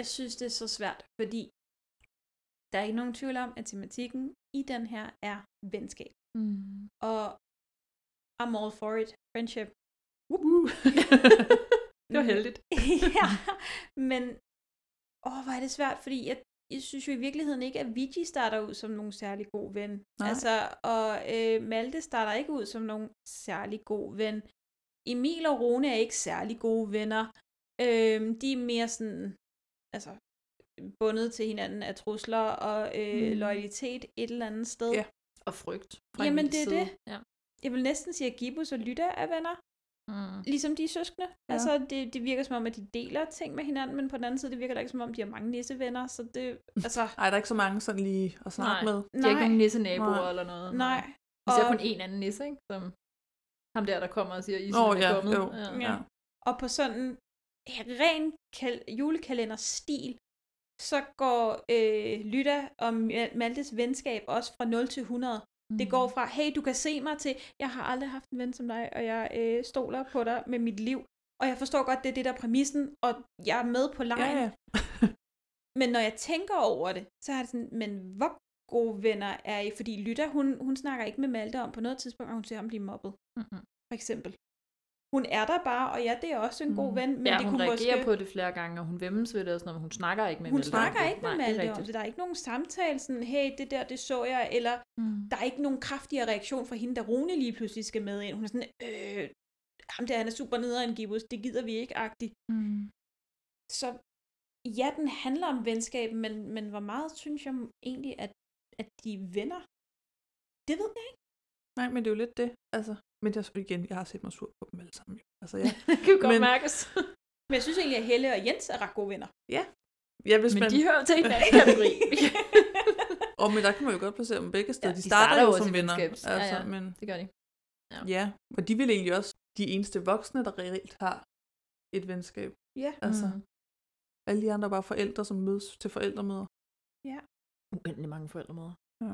[SPEAKER 4] Jeg synes, det er så svært, fordi der er ikke nogen tvivl om, at tematikken i den her er venskab.
[SPEAKER 3] Mm.
[SPEAKER 4] Og I'm all for it. Friendship.
[SPEAKER 2] Uh.
[SPEAKER 3] det var heldigt.
[SPEAKER 4] ja, men åh, hvor er det svært, fordi jeg, jeg synes jo i virkeligheden ikke, at Vigi starter ud som nogen særlig god ven.
[SPEAKER 2] Nej.
[SPEAKER 4] Altså, og øh, Malte starter ikke ud som nogen særlig god ven. Emil og Rune er ikke særlig gode venner. Øhm, de er mere sådan, altså, bundet til hinanden af trusler og øh,
[SPEAKER 3] Mm.
[SPEAKER 4] mm. loyalitet et eller andet sted.
[SPEAKER 2] Ja.
[SPEAKER 3] Og frygt. fra
[SPEAKER 4] Jamen,
[SPEAKER 3] Emils
[SPEAKER 4] det er
[SPEAKER 3] side.
[SPEAKER 4] det.
[SPEAKER 3] Ja.
[SPEAKER 4] Jeg vil næsten sige, at Gibbus og Lytta er venner.
[SPEAKER 3] Mm.
[SPEAKER 4] ligesom de er søskende.
[SPEAKER 2] Ja.
[SPEAKER 4] Ja. Altså, det, det virker som om, at de deler ting med hinanden, men på den anden side, det virker da ikke som om, de har mange nissevenner, så det, altså,
[SPEAKER 2] Ej, der er ikke så mange sådan lige at snakke
[SPEAKER 3] Nej.
[SPEAKER 2] med.
[SPEAKER 3] De er ikke
[SPEAKER 4] nej,
[SPEAKER 3] nogen nissenaboer
[SPEAKER 2] Nej.
[SPEAKER 3] eller noget.
[SPEAKER 4] nej.
[SPEAKER 3] Især
[SPEAKER 4] Og,
[SPEAKER 3] kun en anden nisse, ikke? Som ham der, der kommer og siger, at isen
[SPEAKER 2] Åh,
[SPEAKER 3] oh, er
[SPEAKER 2] ja,
[SPEAKER 3] kommet.
[SPEAKER 2] jo.
[SPEAKER 3] Ja.
[SPEAKER 4] Ja. og på sådan ren kal- julekalenderstil, så går øh, Lytta og Ma- Maltes venskab også fra 0 til 100.
[SPEAKER 3] Mm.
[SPEAKER 4] Det går fra, hey, du kan se mig, til, jeg har aldrig haft en ven som dig, og jeg øh, stoler på dig med mit liv. Og jeg forstår godt, det er det, der er præmissen, og jeg er med på
[SPEAKER 2] Ja,
[SPEAKER 4] lejen.
[SPEAKER 2] ja.
[SPEAKER 4] Men når jeg tænker over det, så er det sådan, men hvor gode venner er I? Fordi Lytta, hun, hun snakker ikke med Malte om på noget tidspunkt, at hun ser ham blive mobbet,
[SPEAKER 3] Mm-mm.
[SPEAKER 4] for eksempel. Hun er der bare, og ja, det er også en god ven, men
[SPEAKER 3] Men Mm. ja,
[SPEAKER 4] det
[SPEAKER 3] hun
[SPEAKER 4] kunne
[SPEAKER 3] reagerer
[SPEAKER 4] måske...
[SPEAKER 3] på det flere gange, og hun vemmes ved det og sådan noget, men hun snakker ikke med
[SPEAKER 4] hun
[SPEAKER 3] Malte om
[SPEAKER 4] snakker
[SPEAKER 3] det.
[SPEAKER 4] ikke med
[SPEAKER 3] Nej, det
[SPEAKER 4] Malte
[SPEAKER 3] er
[SPEAKER 4] om
[SPEAKER 3] rigtigt.
[SPEAKER 4] det. Der er ikke nogen samtale, sådan, hey, det der, det så jeg, eller
[SPEAKER 3] Mm.
[SPEAKER 4] der er ikke nogen kraftigere reaktion fra hende, da Rune lige pludselig skal med ind. Hun er sådan, øh, ham der, han er super nederen, Gibbus, det gider vi ikke, agtig.
[SPEAKER 3] Mm.
[SPEAKER 4] Så ja, den handler om venskab, men, men hvor meget synes jeg egentlig, at, at de er venner? Det ved jeg ikke.
[SPEAKER 2] Nej, men det er jo lidt det. Altså, men jeg, igen, jeg har set mig sur på dem alle sammen. jo. Altså, ja.
[SPEAKER 3] Det kan jo godt
[SPEAKER 2] Men-
[SPEAKER 3] mærkes.
[SPEAKER 4] Men jeg synes egentlig, at Helle og Jens er ret gode venner.
[SPEAKER 2] ja hvis
[SPEAKER 3] Men
[SPEAKER 2] man,
[SPEAKER 3] de hører til en anden kategori.
[SPEAKER 2] Og men der kan man jo godt placere dem begge steder.
[SPEAKER 3] Ja,
[SPEAKER 2] Ja, de,
[SPEAKER 3] de
[SPEAKER 2] starter,
[SPEAKER 3] starter
[SPEAKER 2] jo
[SPEAKER 3] også
[SPEAKER 2] som
[SPEAKER 3] i
[SPEAKER 2] venner.
[SPEAKER 3] venskabs-
[SPEAKER 2] Altså, ja,
[SPEAKER 3] ja, ja.
[SPEAKER 2] ja. Men,
[SPEAKER 3] det gør de.
[SPEAKER 2] ja, og de vil egentlig også de eneste voksne, der reelt har et venskab.
[SPEAKER 4] Ja.
[SPEAKER 2] Altså,
[SPEAKER 3] Mm.
[SPEAKER 2] alle de andre er bare forældre, som mødes til forældremøder.
[SPEAKER 3] uendelig mange forældremåder.
[SPEAKER 2] Ja.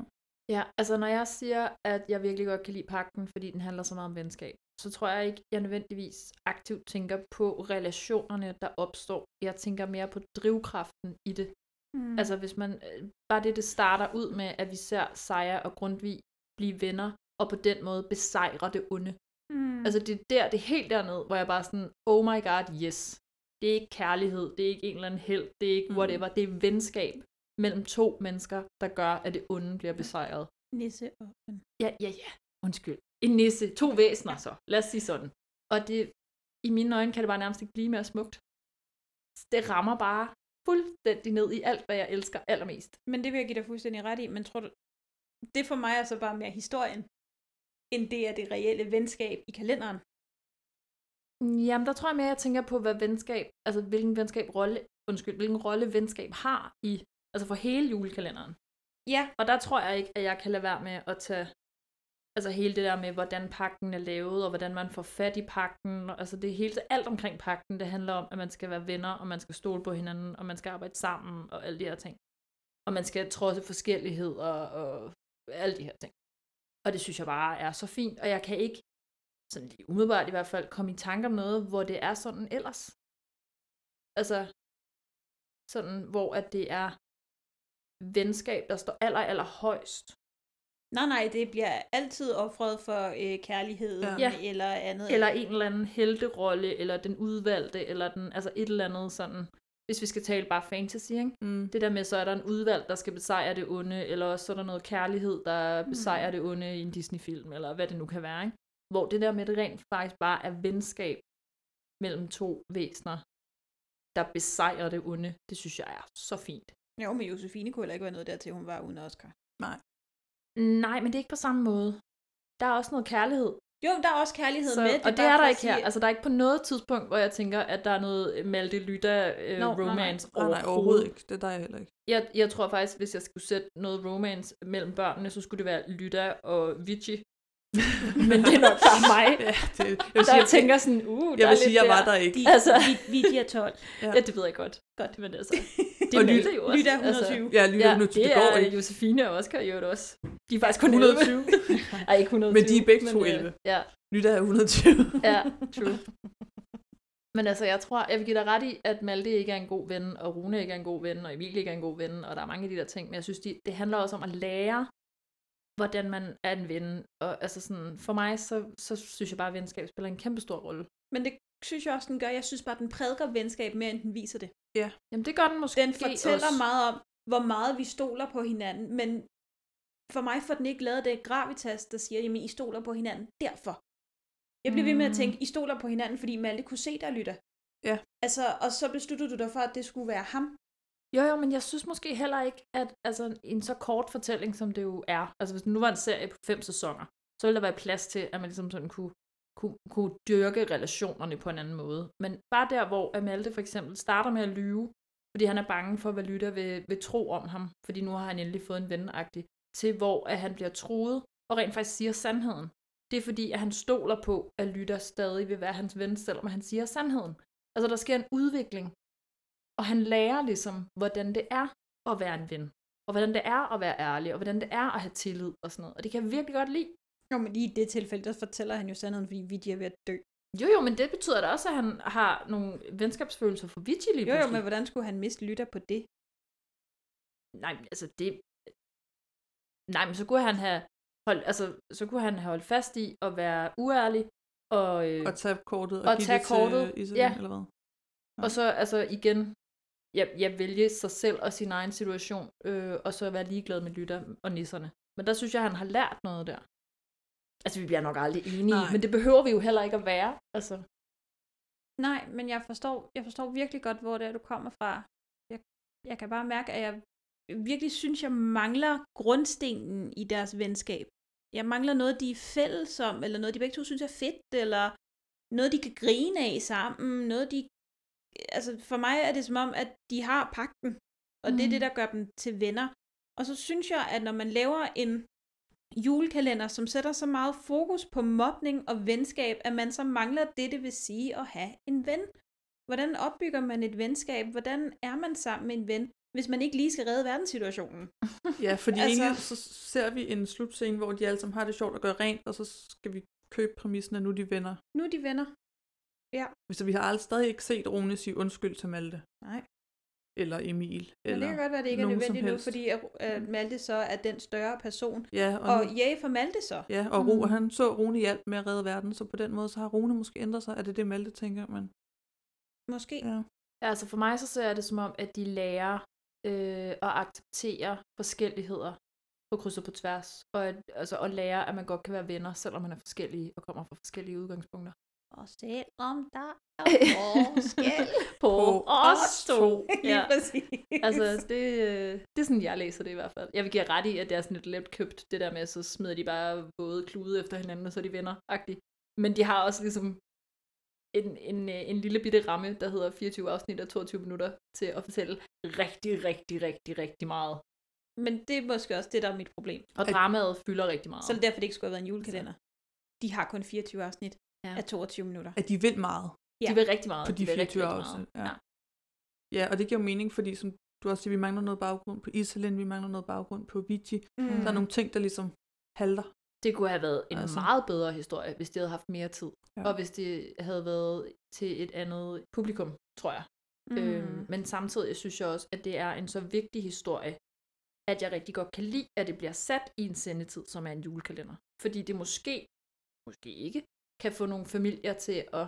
[SPEAKER 3] ja, altså når jeg siger, at jeg virkelig godt kan lide pakken, fordi den handler så meget om venskab, så tror jeg ikke, jeg nødvendigvis aktivt tænker på relationerne, der opstår. Jeg tænker mere på drivkraften i det.
[SPEAKER 4] Mm.
[SPEAKER 3] Altså hvis man, øh, bare det det starter ud med, at vi ser Seja og Grundtvig blive venner, og på den måde besejre det onde.
[SPEAKER 4] mm.
[SPEAKER 3] Altså det er der, det er helt dernede, hvor jeg bare sådan, oh my god, yes. Det er ikke kærlighed, det er ikke en eller anden held, det er ikke
[SPEAKER 2] Mm.
[SPEAKER 3] whatever, det er venskab mellem to mennesker, der gør, at det onde bliver besejret.
[SPEAKER 4] Nisse og en.
[SPEAKER 3] Ja, ja, ja, undskyld. En nisse, to væsener så, lad os sige sådan. Og det, i mine øjne kan det bare nærmest ikke blive mere smukt. Det rammer bare fuldstændig ned i alt, hvad jeg elsker allermest.
[SPEAKER 4] Men det vil jeg give dig fuldstændig ret i, men tror du, det for mig er så bare mere historien, end det er det reelle venskab i kalenderen.
[SPEAKER 3] Jamen, der tror jeg mere, jeg tænker på, hvad venskab, altså hvilken venskab rolle, undskyld, hvilken rolle venskab har i, altså for hele julekalenderen.
[SPEAKER 4] Ja.
[SPEAKER 3] Og der tror jeg ikke, at jeg kan lade være med at tage altså hele det der med, hvordan pakken er lavet, og hvordan man får fat i pakken, og altså det hele, alt omkring pakken, det handler om, at man skal være venner, og man skal stole på hinanden, og man skal arbejde sammen, og alle de her ting. Og man skal trodse forskellighed, og, og alle de her ting. Og det synes jeg bare er så fint, og jeg kan ikke, sådan lige umiddelbart i hvert fald, komme i tanke om noget, hvor det er sådan ellers. Altså, sådan, hvor at det er venskab, der står aller, aller højst,
[SPEAKER 4] Nej, nej, det bliver altid offret for øh, kærligheden
[SPEAKER 2] Ja.
[SPEAKER 4] ja.
[SPEAKER 3] Ja.
[SPEAKER 4] eller andet.
[SPEAKER 3] Eller en eller anden helterolle, eller den udvalgte, eller den, altså et eller andet sådan, hvis vi skal tale bare fantasy, ikke?
[SPEAKER 2] Mm.
[SPEAKER 3] Det der med, så er der en udvalg, der skal besejre det onde, eller også så er der noget kærlighed, der besejrer det onde i en Disney-film, eller hvad det nu kan være, ikke? Hvor det der med, at det rent faktisk bare er venskab mellem to væsener, der besejrer det onde, det synes jeg er så fint.
[SPEAKER 4] Jo, men Josefine kunne heller ikke være noget dertil, hun var uden Oscar.
[SPEAKER 3] Nej, men det er ikke på samme måde. Der er også noget kærlighed.
[SPEAKER 4] Jo, der er også kærlighed
[SPEAKER 3] Så,
[SPEAKER 4] med.
[SPEAKER 3] og det er
[SPEAKER 4] bare
[SPEAKER 3] der
[SPEAKER 4] for at
[SPEAKER 3] ikke her.
[SPEAKER 4] sige-
[SPEAKER 3] Altså, der er ikke på noget tidspunkt, hvor jeg tænker, at der er noget Malte
[SPEAKER 4] Nå, nej, nej.
[SPEAKER 3] Lytta-romance øh,
[SPEAKER 2] Nej, nej, overhovedet ikke. Det er der jeg heller ikke.
[SPEAKER 3] Jeg, jeg tror faktisk, hvis jeg skulle sætte noget romance mellem børnene, så skulle det være Lytta og Vici. Men det er nok bare mig,
[SPEAKER 2] Ja, det, jeg
[SPEAKER 3] der
[SPEAKER 2] vil sige,
[SPEAKER 3] tænker sådan, uh,
[SPEAKER 2] jeg,
[SPEAKER 3] der
[SPEAKER 2] vil
[SPEAKER 3] er
[SPEAKER 2] sige,
[SPEAKER 3] lidt
[SPEAKER 2] jeg var
[SPEAKER 3] der.
[SPEAKER 2] der ikke.
[SPEAKER 4] De, altså...
[SPEAKER 3] altså-
[SPEAKER 4] vi, vi, de er 12.
[SPEAKER 2] Ja.
[SPEAKER 3] Ja, det ved jeg godt.
[SPEAKER 4] Godt.
[SPEAKER 3] Men altså, det
[SPEAKER 2] Og
[SPEAKER 3] er
[SPEAKER 2] Lyt-
[SPEAKER 3] Malte jo også.
[SPEAKER 4] Lyt er 120.
[SPEAKER 3] Altså,
[SPEAKER 4] Altså,
[SPEAKER 2] Ja, lige
[SPEAKER 3] ja,
[SPEAKER 2] nu,
[SPEAKER 3] det
[SPEAKER 2] det går
[SPEAKER 3] er
[SPEAKER 2] ikke.
[SPEAKER 3] Josefine og Oscar jo også. De er faktisk kun 11.
[SPEAKER 2] 120.
[SPEAKER 3] Ej, ikke 120.
[SPEAKER 2] Men de er begge to
[SPEAKER 3] øh,
[SPEAKER 2] 11.
[SPEAKER 3] Ja,
[SPEAKER 2] Lytter er 120.
[SPEAKER 3] ja, true. Men altså, jeg tror, jeg vil give dig ret i, at Malte ikke er en god ven, og Rune ikke er en god ven, og Emil ikke er en god ven, og der er mange af de der ting, men jeg synes, de, det handler også om at lære, hvordan man er en ven. Og altså sådan, for mig, så, så synes jeg bare, at venskab spiller en kæmpe stor rolle.
[SPEAKER 4] Men det synes jeg også, den gør. Jeg synes bare, den prædiker venskab mere, end den viser det.
[SPEAKER 3] Jamen, det gør den måske
[SPEAKER 4] Den fortæller
[SPEAKER 3] også.
[SPEAKER 4] meget om, hvor meget vi stoler på hinanden, men for mig får den ikke lavet det gravitas, der siger, jamen I stoler på hinanden, derfor. Jeg bliver ved med at
[SPEAKER 3] Mm.
[SPEAKER 4] tænke, I stoler på hinanden, fordi Malte kunne se dig lytter.
[SPEAKER 2] Ja.
[SPEAKER 4] Altså, og så besluttede du dig for, at det skulle være ham.
[SPEAKER 3] Jo, jo, men jeg synes måske heller ikke, at altså, en så kort fortælling, som det jo er, altså hvis det nu var en serie på fem sæsoner, så ville der være plads til, at man ligesom sådan kunne, kunne, kunne dyrke relationerne på en anden måde. Men bare der, hvor Amalte for eksempel starter med at lyve, fordi han er bange for, hvad Lytter vil, vil tro om ham, fordi nu har han endelig fået en venagtig, til hvor at han bliver troet og rent faktisk siger sandheden. Det er fordi, at han stoler på, at Lytter stadig vil være hans ven, selvom han siger sandheden. Altså der sker en udvikling og han lærer ligesom, hvordan det er at være en ven. Og hvordan det er at være ærlig, og hvordan det er at have tillid og sådan noget. Og det kan jeg virkelig godt lide.
[SPEAKER 4] Jo, men lige i det tilfælde, der fortæller han jo sandheden, fordi Vidya er ved at dø.
[SPEAKER 3] Jo jo, men det betyder da også, at han har nogle venskabsfølelser for Vici lige
[SPEAKER 4] Jo, jo,
[SPEAKER 3] pludselig.
[SPEAKER 4] men hvordan skulle han miste lytter på det?
[SPEAKER 3] Nej, men altså det... Nej, men så kunne han have holdt, altså, så kunne han have holdt fast i at være uærlig, og, øh,
[SPEAKER 2] Og tage kortet og,
[SPEAKER 3] Og
[SPEAKER 2] give
[SPEAKER 3] tage
[SPEAKER 2] det
[SPEAKER 3] kortet,
[SPEAKER 2] til Iselin,
[SPEAKER 3] ja.
[SPEAKER 2] eller hvad?
[SPEAKER 3] Og så altså igen, jeg, jeg vælge sig selv og sin egen situation, øh, og så være ligeglad med lytter og nisserne. Men der synes jeg, han har lært noget der. Altså, vi bliver nok aldrig enige,
[SPEAKER 2] Nej.
[SPEAKER 3] Nej. men det behøver vi jo heller ikke at være. Altså,
[SPEAKER 4] Nej, men jeg forstår, jeg forstår virkelig godt, hvor det er, du kommer fra. Jeg, jeg kan bare mærke, at jeg virkelig synes, jeg mangler grundstenen i deres venskab. Jeg mangler noget, de er fælles om, eller noget, de begge to synes er fedt, eller noget, de kan grine af sammen, noget, de... Altså, for mig er det som om, at de har pakten, og mm. det er
[SPEAKER 3] Mm.
[SPEAKER 4] det, der gør dem til venner. Og så synes jeg, at når man laver en julekalender, som sætter så meget fokus på mobning og venskab, at man så mangler det, det vil sige at have en ven. Hvordan opbygger man et venskab? Hvordan er man sammen med en ven, hvis man ikke lige skal redde verdenssituationen?
[SPEAKER 2] Ja, fordi altså...
[SPEAKER 4] Altså-
[SPEAKER 2] egentlig så ser vi en slutscene, hvor de alle sammen har det sjovt og gør rent, og så skal vi købe præmissen, at nu er de venner.
[SPEAKER 4] Nu er de venner.
[SPEAKER 2] Så vi har aldrig stadig ikke set Rune sige undskyld til Malte.
[SPEAKER 4] Nej.
[SPEAKER 2] Eller Emil.
[SPEAKER 4] Men det
[SPEAKER 2] Eller...
[SPEAKER 4] kan godt være, at det ikke er
[SPEAKER 2] nogen som
[SPEAKER 4] nødvendigt nu,
[SPEAKER 2] helst.
[SPEAKER 4] fordi at, at Malte så er den større person.
[SPEAKER 2] Ja, og,
[SPEAKER 4] Og
[SPEAKER 2] nu...
[SPEAKER 4] ja, for Malte så.
[SPEAKER 2] ja, og Ro,
[SPEAKER 3] Mm.
[SPEAKER 2] han så Rune hjælp med at redde verden, så på den måde, så har Rune måske ændret sig. Er det det, Malte tænker? Men...
[SPEAKER 4] Måske.
[SPEAKER 2] Ja.
[SPEAKER 3] ja, altså for mig så ser jeg det som om, at de lærer øh, at acceptere forskelligheder på kryds og på tværs. Og at, altså, at lære, at man godt kan være venner, selvom man er forskellige og kommer fra forskellige udgangspunkter.
[SPEAKER 4] Og selvom der er
[SPEAKER 3] På,
[SPEAKER 2] os to.
[SPEAKER 4] Lige præcis.
[SPEAKER 3] Altså, det, øh, det er sådan, jeg læser det i hvert fald. Jeg vil give jer ret i, at det er sådan lidt let købt, det der med, at så smider de bare våde klude efter hinanden, og så er de venner -agtigt. Men de har også ligesom en, en, øh, en lille bitte ramme, der hedder 24 afsnit og 22 minutter, til at fortælle rigtig, rigtig, rigtig, rigtig meget.
[SPEAKER 4] Men det er måske også det, der er mit problem.
[SPEAKER 3] Og
[SPEAKER 2] At-
[SPEAKER 3] dramaet fylder rigtig meget.
[SPEAKER 4] Så er det derfor, det ikke skulle have været en julekalender. De har kun 24 afsnit ja.
[SPEAKER 3] Ja.
[SPEAKER 4] af 22 minutter.
[SPEAKER 2] At de vil meget
[SPEAKER 3] de vil rigtig meget.
[SPEAKER 2] på de
[SPEAKER 3] vil rigtig,
[SPEAKER 2] 24
[SPEAKER 3] rigtig meget.
[SPEAKER 2] afsnit. Ja. ja, og det giver jo mening, fordi som du også siger, vi mangler noget baggrund på Iselin, vi mangler noget baggrund på Vici. Mm.
[SPEAKER 4] Mm.
[SPEAKER 2] Der er nogle ting, der ligesom halter.
[SPEAKER 3] Det kunne have været en
[SPEAKER 2] Altså.
[SPEAKER 3] altså. meget bedre historie, hvis det havde haft mere tid.
[SPEAKER 2] Ja.
[SPEAKER 3] Ja. Og hvis det havde været til et andet publikum, Øhm, Mhm. tror jeg. Mm. Øhm, men samtidig synes jeg også, at det er en så vigtig historie, at jeg rigtig godt kan lide, at det bliver sat i en sendetid, som er en julekalender. Fordi det måske, måske ikke, kan få nogle familier til at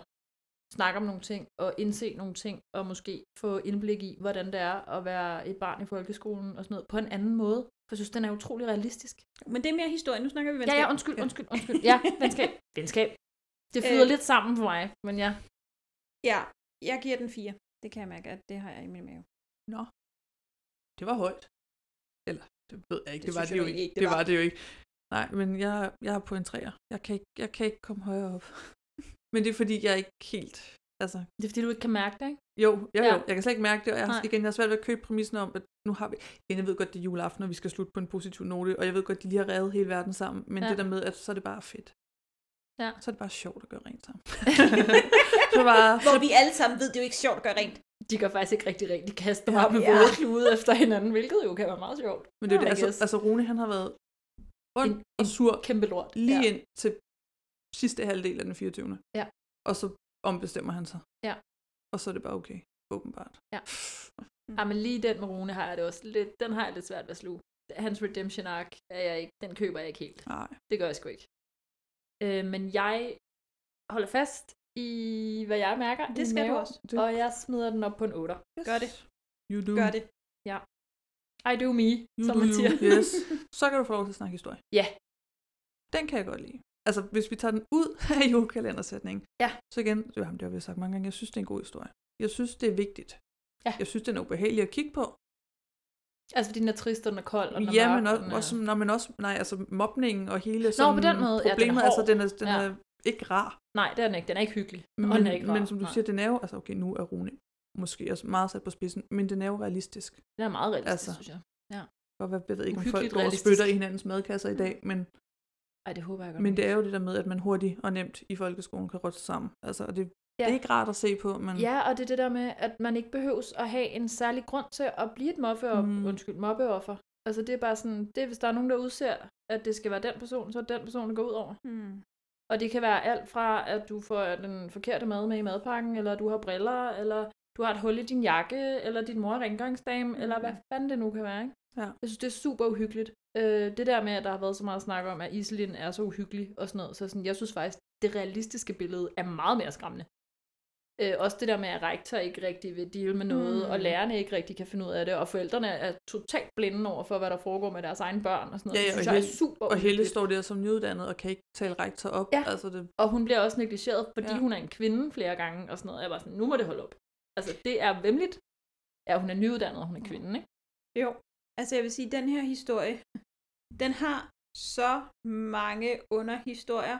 [SPEAKER 3] snakke om nogle ting og indse nogle ting og måske få indblik i, hvordan det er at være et barn i folkeskolen og sådan noget på en anden måde. For jeg synes, den er utrolig realistisk.
[SPEAKER 4] Men det er mere historie. Nu snakker vi
[SPEAKER 3] Ja,
[SPEAKER 4] venskab.
[SPEAKER 3] ja, undskyld, undskyld, undskyld. Ja, venskab. Venskab. Det flyder
[SPEAKER 4] Øh.
[SPEAKER 3] lidt sammen for mig, men ja.
[SPEAKER 4] ja, jeg giver den fire. Det kan jeg mærke, at det har jeg i min mave.
[SPEAKER 2] Nå. Det var højt. Eller, det ved jeg ikke. Det,
[SPEAKER 4] Det
[SPEAKER 2] det var
[SPEAKER 4] synes
[SPEAKER 2] det
[SPEAKER 4] jeg
[SPEAKER 2] jo
[SPEAKER 4] egentlig
[SPEAKER 2] ikke. Det, det var. det jo ikke. Nej, men jeg, jeg er på en træer. Jeg kan, ikke, jeg kan ikke komme højere op. men det er fordi, jeg er ikke helt... Altså,
[SPEAKER 3] Det er fordi, du ikke kan mærke det, ikke?
[SPEAKER 2] jo, jo, jo,
[SPEAKER 3] Ja.
[SPEAKER 2] ja. jeg kan slet ikke mærke det, og jeg har,
[SPEAKER 3] Nej.
[SPEAKER 2] igen, jeg har svært ved at købe præmissen om, at nu har vi... Igen, jeg ved godt, det er juleaften, og vi skal slutte på en positiv note, og jeg ved godt, de lige har revet hele verden sammen, men
[SPEAKER 3] Ja.
[SPEAKER 2] ja. det der med, at så er det bare fedt.
[SPEAKER 3] Ja.
[SPEAKER 2] Så er det bare sjovt at gøre rent sammen. så bare,
[SPEAKER 4] Hvor vi alle sammen ved, det er jo ikke sjovt at gøre rent.
[SPEAKER 3] De gør faktisk ikke rigtig rent. De kaster
[SPEAKER 2] Ja.
[SPEAKER 3] bare med
[SPEAKER 4] Ja.
[SPEAKER 3] våde klude efter hinanden, hvilket jo kan være meget sjovt.
[SPEAKER 2] men det er
[SPEAKER 3] Ja,
[SPEAKER 2] det,
[SPEAKER 3] I
[SPEAKER 2] altså,
[SPEAKER 3] guess.
[SPEAKER 2] altså Rune, han har været ond
[SPEAKER 3] En-
[SPEAKER 2] og sur
[SPEAKER 3] Kæmpe lort.
[SPEAKER 2] lige ja. ind til sidste halvdel af den 24.
[SPEAKER 3] Ja.
[SPEAKER 2] Og så ombestemmer han sig.
[SPEAKER 3] Ja.
[SPEAKER 2] Og så er det bare okay, åbenbart.
[SPEAKER 3] Ja, men lige den med Rune har jeg det også lidt. Den har jeg lidt svært ved at sluge. Hans redemption arc er jeg ikke, den køber jeg ikke helt.
[SPEAKER 2] Nej.
[SPEAKER 3] Det gør jeg sgu ikke. Øh, men jeg holder fast i, hvad jeg mærker. i
[SPEAKER 4] Det skal
[SPEAKER 3] maven,
[SPEAKER 4] du også.
[SPEAKER 2] Det-
[SPEAKER 3] Og jeg smider den op på en 8.
[SPEAKER 2] Yes.
[SPEAKER 4] Gør det.
[SPEAKER 2] You do.
[SPEAKER 4] Gør det.
[SPEAKER 3] I do me,
[SPEAKER 2] You
[SPEAKER 3] som
[SPEAKER 2] do
[SPEAKER 3] man
[SPEAKER 2] you.
[SPEAKER 3] siger.
[SPEAKER 2] Yes. Så kan du få lov til at snakke historie.
[SPEAKER 3] Ja.
[SPEAKER 2] Den kan jeg godt lide. Altså, hvis vi tager den ud af julekalendersætningen,
[SPEAKER 3] Ja.
[SPEAKER 2] så igen, det, jamen, det har vi sagt mange gange, jeg synes, det er en god historie. Jeg synes, det er vigtigt.
[SPEAKER 3] Ja.
[SPEAKER 2] Jeg synes, den er ubehagelig at kigge på.
[SPEAKER 3] Altså fordi den er trist, og den er kold, og den er
[SPEAKER 2] ja,
[SPEAKER 3] mørk,
[SPEAKER 2] men
[SPEAKER 3] og
[SPEAKER 2] også,
[SPEAKER 3] den er...
[SPEAKER 2] også, når man også, nej, altså mobningen og hele sådan
[SPEAKER 3] på den måde, ja, den er
[SPEAKER 2] problemet, altså
[SPEAKER 3] hård.
[SPEAKER 2] den er, den
[SPEAKER 3] Ja.
[SPEAKER 2] er ikke rar.
[SPEAKER 3] Nej, det er den ikke. Den er ikke hyggelig.
[SPEAKER 2] Men,
[SPEAKER 3] og den er ikke rar.
[SPEAKER 2] men som du
[SPEAKER 3] Nej.
[SPEAKER 2] siger, den er jo, altså okay, nu er Rune måske også meget sat på spidsen, men den er jo realistisk.
[SPEAKER 3] Den er meget realistisk, altså.
[SPEAKER 2] Altså.
[SPEAKER 3] synes jeg.
[SPEAKER 2] Og hvad, jeg ved ikke, om folk
[SPEAKER 3] Uhyggeligt
[SPEAKER 2] går og
[SPEAKER 3] realistisk.
[SPEAKER 2] spytter i hinandens madkasser i dag, men,
[SPEAKER 3] Ej, det håber jeg godt.
[SPEAKER 2] men det er jo det der med, at man hurtigt og nemt i folkeskolen kan rotte sig sammen. Altså, og det, ja. det er ikke rart at se på, men
[SPEAKER 3] Ja, og det er det der med, at man ikke behøves at have en særlig grund til at blive et mobbeoffer. Mm.
[SPEAKER 2] Mm.
[SPEAKER 3] Undskyld, mobbeoffer. Altså det er bare sådan, det er, hvis der er nogen, der udser, at det skal være den person, så er det den person, der går ud over.
[SPEAKER 4] Mm.
[SPEAKER 3] Og det kan være alt fra, at du får den forkerte mad med i madpakken, eller du har briller, eller du har et hul i din jakke, eller din mor er rengøringsdame, mm. eller hvad fanden det nu kan være. Ikke?
[SPEAKER 2] Ja.
[SPEAKER 3] Jeg synes, det er super uhyggeligt. Øh, det der med, at der har været så meget snak om, at Iselin er så uhyggelig og sådan noget, så sådan, jeg synes faktisk, det realistiske billede er meget mere skræmmende. Øh, også det der med, at rektor ikke rigtig vil deal med noget, mm.
[SPEAKER 4] Mm.
[SPEAKER 3] og lærerne ikke rigtig kan finde ud af det, og forældrene er totalt blinde over for, hvad der foregår med deres egne børn og sådan noget.
[SPEAKER 2] Ja, ja,
[SPEAKER 3] det
[SPEAKER 2] og
[SPEAKER 3] synes jeg er
[SPEAKER 2] Helle-
[SPEAKER 3] super
[SPEAKER 2] og Helle
[SPEAKER 3] uhyggeligt.
[SPEAKER 2] står der som nyuddannet og kan ikke tale rektor op.
[SPEAKER 3] Ja.
[SPEAKER 2] Altså, det,
[SPEAKER 3] Og hun bliver også negligeret, fordi ja.
[SPEAKER 2] Ja.
[SPEAKER 3] hun er en kvinde flere gange og sådan noget. Jeg var sådan, nu må det holde op. Altså, det er vemmeligt. Ja, hun er nyuddannet, og hun er kvinde, ikke?
[SPEAKER 4] Jo. Altså jeg vil sige, den her historie, den har så mange underhistorier,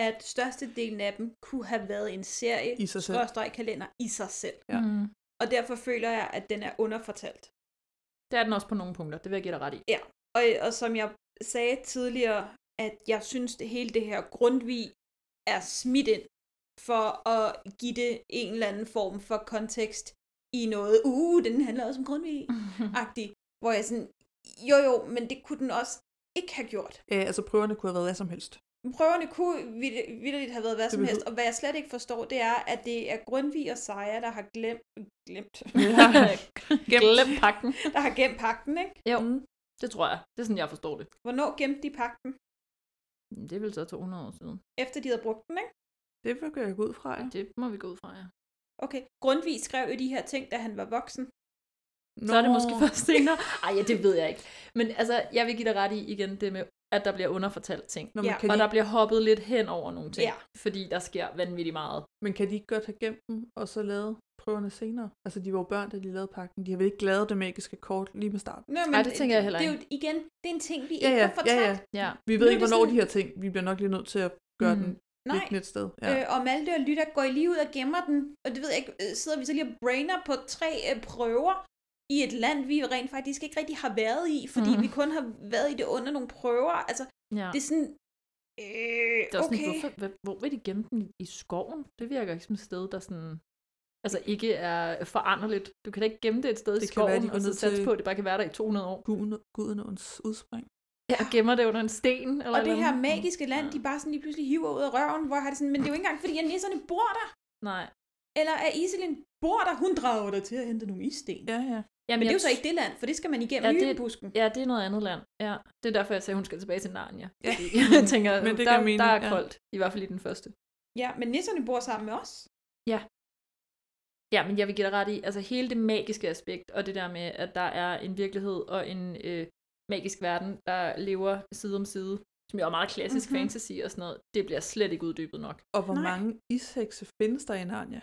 [SPEAKER 4] at størstedelen af dem kunne have været en serie,
[SPEAKER 2] I sig selv.
[SPEAKER 4] skråstreg kalender, i sig selv.
[SPEAKER 2] Ja.
[SPEAKER 3] Mm.
[SPEAKER 4] Og derfor føler jeg, at den er underfortalt.
[SPEAKER 3] Det er den også på nogle punkter, det vil jeg give dig ret i.
[SPEAKER 4] Og, og som jeg sagde tidligere, at jeg synes, det hele det her grundvig er smidt ind for at give det en eller anden form for kontekst i noget, uh, den handler også om grundvig agtig hvor jeg sådan, jo jo, men det kunne den også ikke have gjort.
[SPEAKER 2] ja, altså prøverne kunne have været hvad som helst.
[SPEAKER 4] Prøverne kunne vidt- vitterligt have været hvad
[SPEAKER 2] Det
[SPEAKER 4] som helst,
[SPEAKER 2] behøver-
[SPEAKER 4] og hvad jeg slet ikke forstår, det er, at det er Grundtvig og Sejer, der har glemt, glemt,
[SPEAKER 2] Gemt.
[SPEAKER 3] Glem pakken.
[SPEAKER 4] der har gemt pakten, ikke?
[SPEAKER 3] Jo, mm. det tror jeg. Det er sådan, jeg forstår det.
[SPEAKER 4] Hvornår gemte de pakten?
[SPEAKER 3] Men Det er vel så 200 år siden.
[SPEAKER 4] Efter de havde brugt den, ikke?
[SPEAKER 2] Det vil jeg gå ud fra, ja.
[SPEAKER 3] Det må vi gå ud fra, ja.
[SPEAKER 4] Okay, Grundtvig skrev jo de her ting, da han var voksen.
[SPEAKER 2] Nå,
[SPEAKER 3] Så er det måske først senere. Ej, ja, det ved jeg ikke. Men altså, jeg vil give dig ret i igen det med, at der bliver underfortalt ting.
[SPEAKER 2] Nå, men,
[SPEAKER 4] Ja.
[SPEAKER 2] kan
[SPEAKER 3] Og
[SPEAKER 2] de,
[SPEAKER 3] der bliver hoppet lidt hen over nogle ting.
[SPEAKER 4] Ja.
[SPEAKER 3] Fordi der sker vanvittigt meget.
[SPEAKER 2] men kan de ikke godt have gemt dem, og så lavet prøverne senere? Altså, de var jo børn, da de lavede pakken. De har vel ikke lavet det magiske kort lige med starten.
[SPEAKER 4] Nå,
[SPEAKER 3] Ej, det tænker jeg heller
[SPEAKER 4] Det er jo igen, det er en ting, vi
[SPEAKER 2] Ja,
[SPEAKER 4] ikke
[SPEAKER 2] ja,
[SPEAKER 4] får
[SPEAKER 2] ja,
[SPEAKER 4] fortalt.
[SPEAKER 2] ja.
[SPEAKER 3] Ja.
[SPEAKER 2] Vi
[SPEAKER 4] Nu
[SPEAKER 2] ved
[SPEAKER 4] er
[SPEAKER 2] ikke,
[SPEAKER 4] det
[SPEAKER 2] hvornår
[SPEAKER 4] sådan-
[SPEAKER 2] de her ting, vi bliver nok lige nødt til at gøre
[SPEAKER 3] Mm.
[SPEAKER 2] mm. den
[SPEAKER 4] Nej,
[SPEAKER 2] liggende et sted. Ja.
[SPEAKER 4] Øh, og Malte og Lytter går i lige ud og gemmer den, og det ved jeg ikke, øh, sidder vi så lige og brainer på tre øh, prøver i et land, vi rent faktisk ikke rigtig har været i, fordi
[SPEAKER 3] Mm.
[SPEAKER 4] mm. vi kun har været i det under nogle prøver. Altså,
[SPEAKER 3] ja.
[SPEAKER 4] det er sådan... Øh,
[SPEAKER 3] Det er også
[SPEAKER 4] okay.
[SPEAKER 3] sådan, hvorfor, hvad, hvor vil de gemme den i skoven? Det virker ikke som et sted, der sådan, altså ikke er foranderligt. Du kan da ikke gemme det et sted i
[SPEAKER 2] Det kan
[SPEAKER 3] skoven,
[SPEAKER 2] være, de går
[SPEAKER 3] og så
[SPEAKER 2] ned
[SPEAKER 3] satse
[SPEAKER 2] til-
[SPEAKER 3] på, at det bare kan være der i 200 år.
[SPEAKER 2] Guden, guden udspring.
[SPEAKER 4] Øh.
[SPEAKER 3] Ja. Og gemmer det under en sten. Eller
[SPEAKER 4] og det
[SPEAKER 3] et eller
[SPEAKER 4] her
[SPEAKER 3] andet.
[SPEAKER 4] magiske land, de bare sådan lige pludselig hiver ud af røven, hvor jeg har det sådan, men det er jo ikke engang, fordi at nisserne bor der,
[SPEAKER 3] Nej.
[SPEAKER 4] eller at Iselin bor der, hun drager dig til at hente nogle issten.
[SPEAKER 2] Ja, ja.
[SPEAKER 3] Jamen,
[SPEAKER 4] Men det er
[SPEAKER 3] jeg
[SPEAKER 4] jo så ikke det land, for det skal man igennem
[SPEAKER 3] Ja,
[SPEAKER 4] ja,
[SPEAKER 3] det-
[SPEAKER 4] hylepusken.
[SPEAKER 3] Ja, det er noget andet land. Ja. Det er derfor, jeg sagde, at hun skal tilbage til Narnia.
[SPEAKER 2] Ja.
[SPEAKER 3] Fordi Jeg tænker,
[SPEAKER 2] Men det
[SPEAKER 3] der,
[SPEAKER 2] giver mening,
[SPEAKER 3] der er
[SPEAKER 2] ja.
[SPEAKER 3] koldt. I hvert fald i den første.
[SPEAKER 4] Ja, men nisserne bor sammen med os.
[SPEAKER 3] Ja, men jeg vil give dig ret i, altså hele det magiske aspekt, og det der med, at der er en virkelighed og en øh, magisk verden, der lever side om side, som jo er meget klassisk
[SPEAKER 4] Mhm.
[SPEAKER 3] mm-hmm. fantasy og sådan noget, det bliver slet ikke uddybet nok.
[SPEAKER 2] Og hvor
[SPEAKER 4] Nej.
[SPEAKER 2] Nej. mange ishekse findes der i Narnia?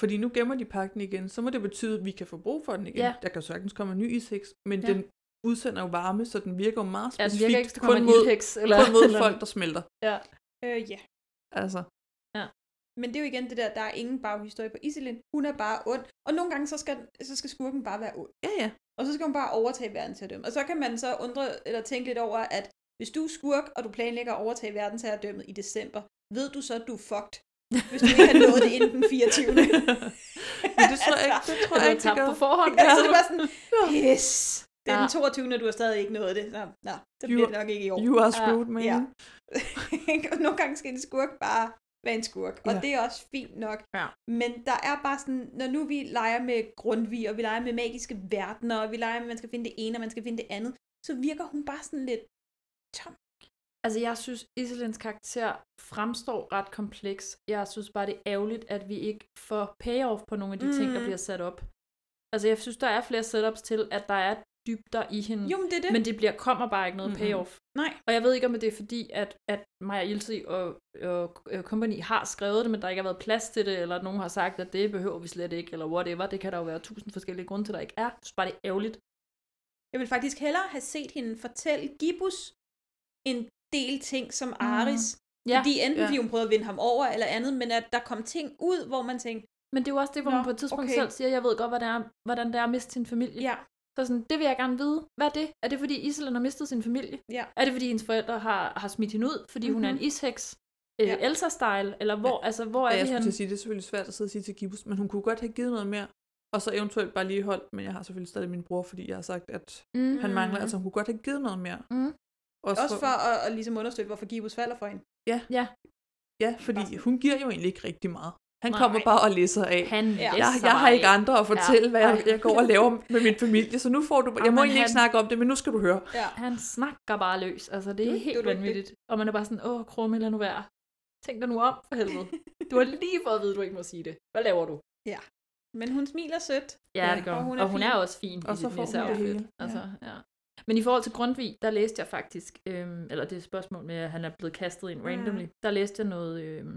[SPEAKER 2] Fordi nu gemmer de pakken igen, så må det betyde, at vi kan få brug for den igen.
[SPEAKER 3] Ja.
[SPEAKER 2] Der kan jo sagtens komme en ny isheks, men
[SPEAKER 3] Ja.
[SPEAKER 2] ja. den udsender jo varme, så den virker jo meget
[SPEAKER 3] Ja, den
[SPEAKER 2] specifikt
[SPEAKER 3] virker ikke, at
[SPEAKER 2] Altså,
[SPEAKER 3] der
[SPEAKER 2] kun,
[SPEAKER 3] kommer en
[SPEAKER 2] mod,
[SPEAKER 3] ildheks, eller,
[SPEAKER 2] kun mod
[SPEAKER 3] eller
[SPEAKER 2] folk, der smelter.
[SPEAKER 3] Ja.
[SPEAKER 4] Øh, ja.
[SPEAKER 2] Altså,
[SPEAKER 4] Men det er jo igen det der, der er ingen baghistorie på Iselin. Hun er bare ond. Og nogle gange, så skal, så skal skurken bare være ond.
[SPEAKER 2] ja, ja.
[SPEAKER 4] Og så skal hun bare overtage verden til at dømme. Og så kan man så undre eller tænke lidt over, at hvis du er skurk, og du planlægger at overtage verden til at dømme i december, ved du så, at du er fucked, hvis du ikke har nået det inden den 24.
[SPEAKER 2] Men det tror jeg ikke, det tror
[SPEAKER 3] Det
[SPEAKER 2] jeg
[SPEAKER 3] er
[SPEAKER 2] ikke, det
[SPEAKER 3] tabt
[SPEAKER 2] gør.
[SPEAKER 3] Altså, på forhånd. Altså,
[SPEAKER 4] Ja, så er det bare sådan, yes, det er den
[SPEAKER 3] Ja.
[SPEAKER 4] 22. og du har stadig ikke nået det. Nå, nå så
[SPEAKER 2] You-
[SPEAKER 4] bliver det nok ikke i år.
[SPEAKER 2] You are screwed, man.
[SPEAKER 4] Ja. Og Nogle gange skal en skurk bare være en skurk, og ja.
[SPEAKER 2] Ja.
[SPEAKER 4] det er også fint nok.
[SPEAKER 3] Ja.
[SPEAKER 4] Men der er bare sådan, når nu vi leger med Grundtvig, og vi leger med magiske verdener, og vi leger med, at man skal finde det ene, og man skal finde det andet, så virker hun bare sådan lidt tom.
[SPEAKER 3] Altså, jeg synes, Iselins karakter fremstår ret kompleks. Jeg synes bare, det er ærgerligt, at vi ikke får payoff på nogle af de mm. ting, der
[SPEAKER 4] Mhm.
[SPEAKER 3] bliver sat op. Altså, jeg synes, der er flere setups til, at der er dybder i hende.
[SPEAKER 4] Jo, men det er det.
[SPEAKER 3] Men det bliver, kommer bare ikke noget
[SPEAKER 2] Mhm.
[SPEAKER 3] payoff.
[SPEAKER 4] Nej.
[SPEAKER 3] Og jeg ved ikke, om det er fordi, at, at Maja Ilse og, og øh, company har skrevet det, men der ikke har været plads til det, eller at nogen har sagt, at det behøver vi slet ikke, eller whatever. Det kan der jo være tusind forskellige grunde til, der ikke er. Jeg synes bare, det er ærgerligt.
[SPEAKER 4] Jeg vil faktisk hellere have set hende fortælle Gibus en del ting som Aris. Mm.
[SPEAKER 3] Ja.
[SPEAKER 4] Ja. Fordi enten
[SPEAKER 2] Ja.
[SPEAKER 4] fordi hun prøvede at vinde ham over eller andet, men at der kom ting ud, hvor man tænkte,
[SPEAKER 3] Men det er jo også det, hvor
[SPEAKER 4] Nå,
[SPEAKER 3] Nå, man på et tidspunkt
[SPEAKER 4] okay.
[SPEAKER 3] okay. selv siger, jeg ved godt, hvad det er, hvordan det er at miste sin familie.
[SPEAKER 4] ja,
[SPEAKER 3] Så sådan, det vil jeg gerne vide. Hvad er det? Er det, fordi Iselin har mistet sin familie?
[SPEAKER 4] Ja.
[SPEAKER 3] Er det, fordi hendes forældre har, har smidt hende ud, fordi mm-hmm. hun er en isheks? Øh,
[SPEAKER 4] Ja.
[SPEAKER 3] Elsa-style? Eller hvor, ja. altså, hvor
[SPEAKER 2] Ja,
[SPEAKER 3] er
[SPEAKER 2] jeg
[SPEAKER 3] vi
[SPEAKER 2] skulle
[SPEAKER 3] henne?
[SPEAKER 2] til at sige, det er selvfølgelig svært at sidde og sige til Gibbs, men hun kunne godt have givet noget mere, og så eventuelt bare lige holdt, men jeg har selvfølgelig stadig min bror, fordi jeg har sagt, at
[SPEAKER 3] Mm.
[SPEAKER 2] han mangler,
[SPEAKER 4] Mhm.
[SPEAKER 2] altså hun kunne godt have givet noget mere.
[SPEAKER 3] Mm.
[SPEAKER 4] også for at, at ligesom understøtte, hvorfor Gibus falder for hende.
[SPEAKER 2] Ja, fordi
[SPEAKER 4] Bare-
[SPEAKER 2] hun giver jo egentlig ikke rigtig meget. Han
[SPEAKER 3] Nej.
[SPEAKER 2] kommer bare og læser af.
[SPEAKER 3] Han
[SPEAKER 4] Ja.
[SPEAKER 3] læser
[SPEAKER 2] Jeg, jeg har
[SPEAKER 3] bare
[SPEAKER 2] ikke andre at fortælle, ja. hvad jeg,
[SPEAKER 3] Ej.
[SPEAKER 2] jeg går og laver med min familie, så nu får du... Jeg må
[SPEAKER 3] Jamen,
[SPEAKER 2] egentlig ikke
[SPEAKER 3] han-
[SPEAKER 2] snakke om det, men nu skal du høre.
[SPEAKER 4] Ja.
[SPEAKER 3] Han snakker bare løs. Altså, det er
[SPEAKER 4] Du-
[SPEAKER 3] du, helt
[SPEAKER 4] du-
[SPEAKER 3] du,
[SPEAKER 4] du-
[SPEAKER 3] vanvittigt. Og man er bare sådan, åh, krumme, lad nu være. Tænk dig nu om, for helvede. Du har lige fået at vide, at du ikke må sige det. Hvad laver du?
[SPEAKER 4] Men hun smiler sødt.
[SPEAKER 3] Ja,
[SPEAKER 2] Ja,
[SPEAKER 3] det gør
[SPEAKER 4] og
[SPEAKER 3] hun.
[SPEAKER 4] hun
[SPEAKER 3] Hun
[SPEAKER 4] er
[SPEAKER 3] og hun
[SPEAKER 4] fin.
[SPEAKER 3] er også fin
[SPEAKER 2] Og
[SPEAKER 3] i
[SPEAKER 2] så
[SPEAKER 3] sit
[SPEAKER 2] får hun
[SPEAKER 4] det
[SPEAKER 3] nisseoutfit.
[SPEAKER 2] hele.
[SPEAKER 3] Altså, ja. Men i forhold til Grundtvig, der læste jeg faktisk, øhm, eller det er et spørgsmål med, at han er blevet kastet ind randomly, der læste jeg noget øhm,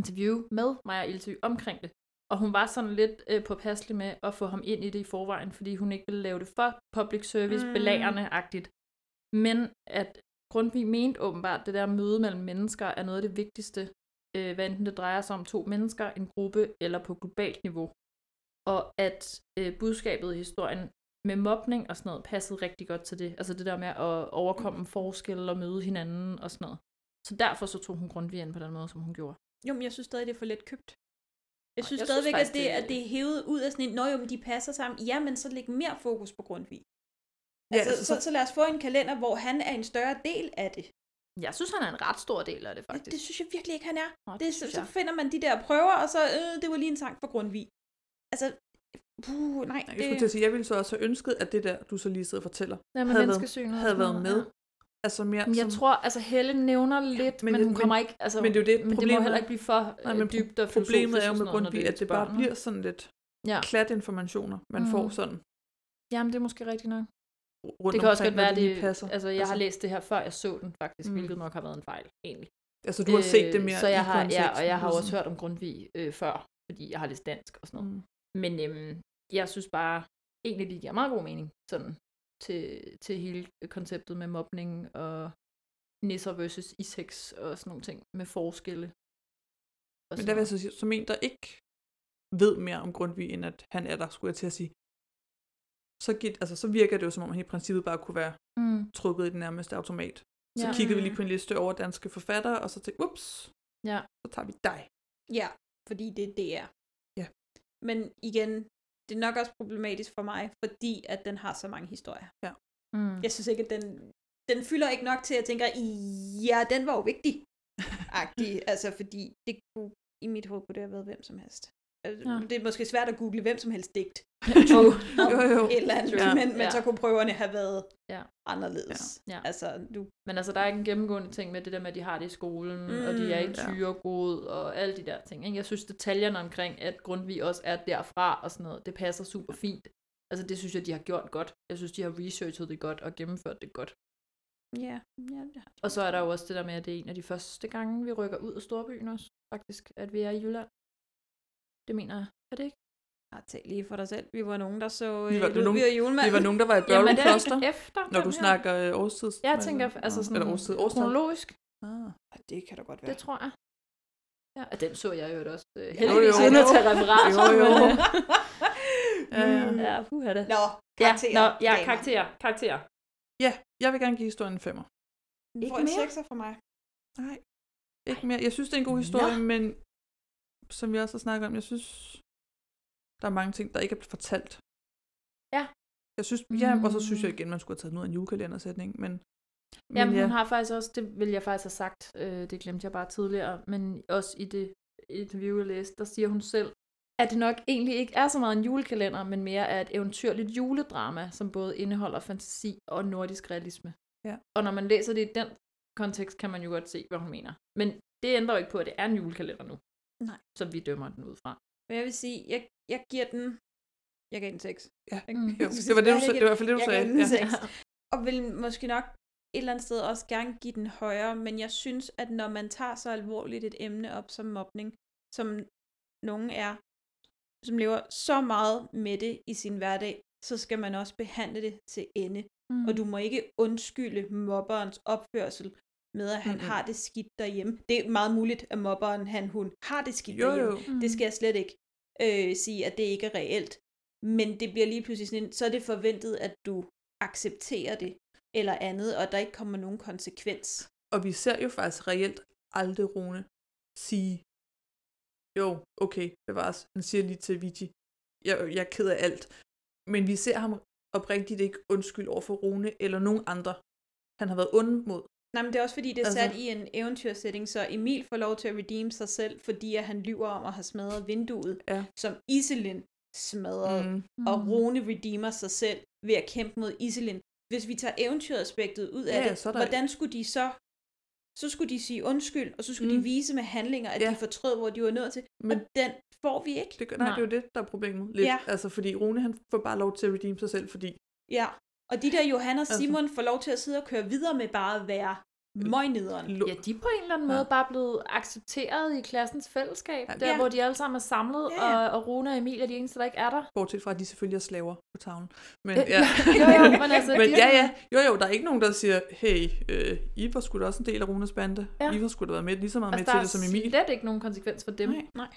[SPEAKER 3] interview med Maja Ilse omkring det. Og hun var sådan lidt øh, påpasselig med at få ham ind i det i forvejen, fordi hun ikke ville lave det for public service,
[SPEAKER 4] Mm.
[SPEAKER 3] mm. belærende-agtigt. Men at Grundtvig mente åbenbart, at det der møde mellem mennesker er noget af det vigtigste, øh, hvad enten det drejer sig om to mennesker, en gruppe eller på globalt niveau. Og at øh, budskabet i historien med mobning og sådan noget passede rigtig godt til det. Altså det der med at overkomme forskelle og møde hinanden og sådan noget. Så derfor så tog hun Grundtvig ind på den måde, som hun gjorde.
[SPEAKER 4] Jo, men jeg synes stadig, det er for let købt. Jeg synes
[SPEAKER 3] jeg synes
[SPEAKER 4] stadigvæk, at,
[SPEAKER 3] faktisk,
[SPEAKER 4] det,
[SPEAKER 3] det-
[SPEAKER 4] at det er hævet ud af sådan en, nå jo, men de passer sammen. Ja, men så læg mere fokus på Grundtvig.
[SPEAKER 2] Ja,
[SPEAKER 4] Altså, så,
[SPEAKER 2] så-
[SPEAKER 4] så lad os få en kalender, hvor han er en større del af det.
[SPEAKER 3] Jeg synes, han er en ret stor del af det,
[SPEAKER 4] Faktisk.
[SPEAKER 3] faktisk.
[SPEAKER 4] Det synes jeg virkelig ikke, han er.
[SPEAKER 3] Nå,
[SPEAKER 4] Det, så,
[SPEAKER 3] synes
[SPEAKER 4] så
[SPEAKER 3] jeg.
[SPEAKER 4] finder man de der prøver, og så, øh, det var lige en sang for Grundtvig. Altså, puh, nej.
[SPEAKER 2] Jeg
[SPEAKER 4] Det,
[SPEAKER 2] skulle til at sige, jeg ville så også have ønsket, at det der, du så lige sidder og fortæller,
[SPEAKER 3] Ja,
[SPEAKER 2] havde været-
[SPEAKER 3] menneskesynet og
[SPEAKER 2] havde
[SPEAKER 3] sådan
[SPEAKER 2] været
[SPEAKER 3] noget,
[SPEAKER 2] med.
[SPEAKER 3] ja.
[SPEAKER 2] Altså mere...
[SPEAKER 3] Men jeg
[SPEAKER 2] som-
[SPEAKER 3] tror, altså Helle nævner lidt,
[SPEAKER 2] men det-
[SPEAKER 3] men, men hun
[SPEAKER 2] men-
[SPEAKER 3] kommer ikke... Altså,
[SPEAKER 2] men det er jo det,
[SPEAKER 3] men det må
[SPEAKER 2] problemet
[SPEAKER 3] heller
[SPEAKER 2] er.
[SPEAKER 3] ikke blive for
[SPEAKER 2] Nej,
[SPEAKER 3] Nej,
[SPEAKER 2] men
[SPEAKER 3] men øh, dybt og
[SPEAKER 2] Problemet er jo
[SPEAKER 3] filosofisk og
[SPEAKER 2] med
[SPEAKER 3] sådan noget, når
[SPEAKER 2] Grundtvig, at
[SPEAKER 3] er
[SPEAKER 2] det
[SPEAKER 3] til
[SPEAKER 2] bare
[SPEAKER 3] børn,
[SPEAKER 2] bliver sådan lidt
[SPEAKER 3] Ja.
[SPEAKER 2] klat informationer, man
[SPEAKER 3] Mhm.
[SPEAKER 2] får sådan
[SPEAKER 3] ikke? Jamen, det er måske rigtigt nok.
[SPEAKER 2] rundt
[SPEAKER 3] Det kan også
[SPEAKER 2] omkring,
[SPEAKER 3] godt
[SPEAKER 2] når
[SPEAKER 3] være,
[SPEAKER 2] det
[SPEAKER 3] det...
[SPEAKER 2] lige passer.
[SPEAKER 3] Altså, jeg har læst det her, før jeg så den faktisk,
[SPEAKER 2] Mm.
[SPEAKER 3] mm. hvilket nok har været en fejl, egentlig.
[SPEAKER 2] Altså, du har set det mere
[SPEAKER 3] øh, så jeg
[SPEAKER 2] i
[SPEAKER 3] har, ja,
[SPEAKER 2] konteksten,
[SPEAKER 3] og jeg har
[SPEAKER 2] sådan.
[SPEAKER 3] også hørt om Grundtvig øh, før, fordi jeg har læst dansk og sådan noget.
[SPEAKER 2] Mm.
[SPEAKER 3] Mm. Men øhm, jeg synes bare, egentlig det giver meget god mening, sådan, til, til hele konceptet med mobning og nisser versus isex og sådan nogle ting med forskelle. Og
[SPEAKER 2] Men
[SPEAKER 3] sådan
[SPEAKER 2] der vil jeg
[SPEAKER 3] noget.
[SPEAKER 2] så sige, som en, der ikke ved mere om Grundtvig, end at han er der, skulle jeg til at sige, så, gik, altså, så virker det jo, som om han i princippet bare kunne være
[SPEAKER 3] mm.
[SPEAKER 2] trukket i den nærmeste automat. Så
[SPEAKER 3] ja.
[SPEAKER 4] kig-
[SPEAKER 2] kiggede vi lige på en liste over danske forfattere, og så tænkte ups,
[SPEAKER 3] Ja.
[SPEAKER 2] så tager vi dig.
[SPEAKER 4] Ja, fordi det er DR.
[SPEAKER 2] Ja.
[SPEAKER 4] Men igen, det er nok også problematisk for mig, fordi at den har så mange historier.
[SPEAKER 3] Mm.
[SPEAKER 4] Jeg synes ikke, at den, den fylder ikke nok til, at jeg tænker, ja, den var jo vigtig. Agtig, altså fordi det kunne i mit hoved kunne det have været hvem som helst. Altså,
[SPEAKER 3] Ja.
[SPEAKER 4] Det er måske svært at google hvem som helst digt.
[SPEAKER 3] True.
[SPEAKER 4] om
[SPEAKER 2] Jo, jo.
[SPEAKER 4] et eller andet,
[SPEAKER 2] Ja.
[SPEAKER 4] men, men
[SPEAKER 3] Ja.
[SPEAKER 4] så kunne prøverne have været
[SPEAKER 3] Ja.
[SPEAKER 4] anderledes.
[SPEAKER 3] Ja.
[SPEAKER 4] Altså, du,
[SPEAKER 3] Men altså, der er ikke en gennemgående ting med det der med, at de har det i skolen, mm, og de er i
[SPEAKER 2] ja.
[SPEAKER 3] tyregod, og alle de der ting. Ikke? Jeg synes, detaljerne omkring, at Grundtvig også er derfra og sådan noget, det passer super fint. Altså, det synes jeg, de har gjort godt. Jeg synes, de har researchet det godt og gennemført det godt.
[SPEAKER 4] ja, ja, det har-
[SPEAKER 3] Og så er der jo også det der med, at det er en af de første gange, vi rykker ud af Storbyen også, faktisk, at vi er i Jylland. Det mener jeg. Er det ikke?
[SPEAKER 4] Ah, tal lige for dig selv. Vi var nogen, der så
[SPEAKER 2] Vi
[SPEAKER 4] øh,
[SPEAKER 2] var- det var
[SPEAKER 4] Ludvig
[SPEAKER 2] nogen-
[SPEAKER 4] og julemand.
[SPEAKER 2] Det var nogen, der var i Børlum
[SPEAKER 3] det er
[SPEAKER 2] Kloster,
[SPEAKER 3] efter.
[SPEAKER 2] når
[SPEAKER 3] den
[SPEAKER 2] du
[SPEAKER 3] her.
[SPEAKER 2] snakker øh, årstids.
[SPEAKER 3] Jeg tænker, altså sådan
[SPEAKER 2] Eller årstid, årstal.
[SPEAKER 3] Kronologisk,
[SPEAKER 2] Ah.
[SPEAKER 4] Ah, Det kan da godt være.
[SPEAKER 3] det tror jeg. Ja, og den så jeg jo også øh,
[SPEAKER 2] Jo,
[SPEAKER 3] heldigvis
[SPEAKER 2] jo.
[SPEAKER 3] uden at tage referat.
[SPEAKER 2] Jo, jo.
[SPEAKER 3] men, øh,
[SPEAKER 2] Ja, ja.
[SPEAKER 3] Ja, puha da.
[SPEAKER 4] Mm. Nå, karakterer.
[SPEAKER 3] Ja, nå, ja
[SPEAKER 4] damer.
[SPEAKER 3] karakterer. Karakterer.
[SPEAKER 2] ja, jeg vil gerne give historien en femmer.
[SPEAKER 4] Du
[SPEAKER 3] Ikke
[SPEAKER 4] får en
[SPEAKER 3] mere?
[SPEAKER 4] sekser fra mig.
[SPEAKER 2] Nej, ikke mere. Jeg synes, det er en god historie, men som vi også har snakket om, jeg synes, der er mange ting, der ikke er blevet fortalt.
[SPEAKER 3] Ja.
[SPEAKER 2] Jeg synes, ja, og så
[SPEAKER 3] Mm.
[SPEAKER 2] synes jeg igen, man skulle have taget den ud af en julekalendersætning, men, men
[SPEAKER 3] Jamen,
[SPEAKER 2] ja,
[SPEAKER 3] hun har faktisk også, det vil jeg faktisk have sagt, øh, det glemte jeg bare tidligere, men også i det interview, jeg læste, der siger hun selv, at det nok egentlig ikke er så meget en julekalender, men mere er et eventyrligt juledrama, som både indeholder fantasi og nordisk realisme.
[SPEAKER 2] Ja.
[SPEAKER 3] Og når man læser det i den kontekst, kan man jo godt se, hvad hun mener. Men det ændrer jo ikke på, at det er en julekalender nu.
[SPEAKER 4] Nej.
[SPEAKER 3] Som vi dømmer den ud fra.
[SPEAKER 4] Men jeg vil sige, jeg, jeg giver den... Jeg gav den 6.
[SPEAKER 2] Ja.
[SPEAKER 3] Mm.
[SPEAKER 2] jo, det var det, du, sagde- det var i hvert fald det, du
[SPEAKER 4] Jeg
[SPEAKER 2] sagde.
[SPEAKER 4] gav den
[SPEAKER 2] Ja.
[SPEAKER 4] 6. Og vil måske nok et eller andet sted også gerne give den højere, men jeg synes, at når man tager så alvorligt et emne op som mobning, som nogen er, som lever så meget med det i sin hverdag, så skal man også behandle det til ende.
[SPEAKER 3] Mm.
[SPEAKER 4] Og du må ikke undskylde mobberens opførsel med, at han
[SPEAKER 2] Mm-mm.
[SPEAKER 4] har det skidt derhjemme. Det er meget muligt, at mobberen, han, hun, har det skidt
[SPEAKER 2] Jo,
[SPEAKER 4] derhjemme.
[SPEAKER 2] jo.
[SPEAKER 4] Det skal jeg slet ikke øh, sige, at det ikke er reelt. Men det bliver lige pludselig sådan, en- så er det forventet, at du accepterer det eller andet, og der ikke kommer nogen konsekvens.
[SPEAKER 2] Og vi ser jo faktisk reelt aldrig Rune sige, jo, okay, bevares. Han siger lige til Vigi, jeg, jeg er ked af alt. Men vi ser ham oprigtigt ikke undskyld over for Rune eller nogen andre. Han har været ond mod.
[SPEAKER 4] Nej, men det er også fordi, det er
[SPEAKER 2] Altså-
[SPEAKER 4] sat i en eventyrsætning, så Emil får lov til at redeem sig selv, fordi at han lyver om at have smadret vinduet,
[SPEAKER 2] Ja.
[SPEAKER 4] som Iselin smadrede. Mm. Og Rune redeemer sig selv ved at kæmpe mod Iselin. Hvis vi tager eventyraspektet ud af
[SPEAKER 2] Ja,
[SPEAKER 4] det,
[SPEAKER 2] så er der-
[SPEAKER 4] hvordan skulle de så... Så skulle de sige undskyld, og så skulle mm. de
[SPEAKER 2] Mm.
[SPEAKER 4] vise med handlinger, at ja.
[SPEAKER 2] Ja.
[SPEAKER 4] de fortrød, hvor de var nødt til. Men
[SPEAKER 2] Men
[SPEAKER 4] den får vi ikke.
[SPEAKER 2] det, gør- nej,
[SPEAKER 3] Nej.
[SPEAKER 2] det er jo det, der er problemet. Lidt.
[SPEAKER 4] Ja.
[SPEAKER 2] Altså, fordi Rune han får bare lov til at redeem sig selv, fordi
[SPEAKER 4] Ja. Og de der Johan og
[SPEAKER 2] Altså. Mm.
[SPEAKER 4] Simon får lov til at sidde og køre videre med bare at være møgnederen.
[SPEAKER 2] lå-
[SPEAKER 3] Ja, de er på en eller anden måde bare blevet accepteret i klassens fællesskab,
[SPEAKER 2] Ja.
[SPEAKER 3] der
[SPEAKER 4] Ja.
[SPEAKER 3] hvor de alle sammen er samlet,
[SPEAKER 4] Ja.
[SPEAKER 3] og, og Rune og Emil er de eneste, der ikke er der.
[SPEAKER 2] bortset fra, at de selvfølgelig er slaver på tavlen. Men,
[SPEAKER 3] Øh,
[SPEAKER 2] ja.
[SPEAKER 3] jo, jo, men altså,
[SPEAKER 2] men
[SPEAKER 3] de-
[SPEAKER 2] ja, ja. Jo, jo, der er ikke nogen, der siger, hey, øh, I var sgu da også en del af Runes bande.
[SPEAKER 3] Ja.
[SPEAKER 2] I var sgu da været med, lige så meget
[SPEAKER 3] Altså,
[SPEAKER 2] med
[SPEAKER 3] der
[SPEAKER 2] til
[SPEAKER 3] er
[SPEAKER 2] det som Emil.
[SPEAKER 3] slet ikke nogen konsekvens for dem.
[SPEAKER 4] Nej, nej.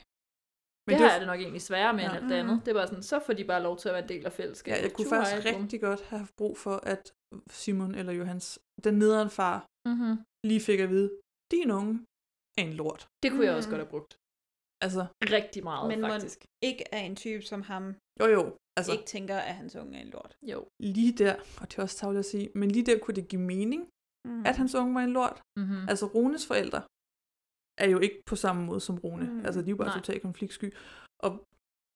[SPEAKER 2] Men
[SPEAKER 3] Men det,
[SPEAKER 2] det er-
[SPEAKER 3] her er det nok egentlig sværere med end
[SPEAKER 2] Ja.
[SPEAKER 3] alt det andet. Det var sådan, så får de bare lov til at være en del af
[SPEAKER 2] Ja,
[SPEAKER 3] fællesskabet.
[SPEAKER 2] jeg kunne
[SPEAKER 3] Tjuhej,
[SPEAKER 2] faktisk
[SPEAKER 3] bum.
[SPEAKER 2] rigtig godt have haft brug for, at Simon eller Johans, den nederen far,
[SPEAKER 3] Mhm.
[SPEAKER 2] lige fik at vide, din unge er en lort.
[SPEAKER 3] Det kunne jeg også
[SPEAKER 2] Mm.
[SPEAKER 4] Mhm.
[SPEAKER 3] godt have brugt.
[SPEAKER 2] Altså,
[SPEAKER 3] Rigtig meget,
[SPEAKER 4] Men
[SPEAKER 3] men
[SPEAKER 4] mon-
[SPEAKER 3] faktisk.
[SPEAKER 4] Ikke af en type som ham,
[SPEAKER 2] jo jo, altså
[SPEAKER 4] altså. ikke tænker, at hans unge er en lort.
[SPEAKER 3] Jo.
[SPEAKER 2] lige der, og det er også tavligt at sige, men lige der kunne det give mening,
[SPEAKER 4] Mm.
[SPEAKER 2] at hans unge var en lort.
[SPEAKER 3] Mm-hmm.
[SPEAKER 2] Altså Runes forældre er jo ikke på samme måde som Rune.
[SPEAKER 4] Mm.
[SPEAKER 2] Mm. Altså de er jo bare
[SPEAKER 3] Nej.
[SPEAKER 2] totalt konfliktsky. Og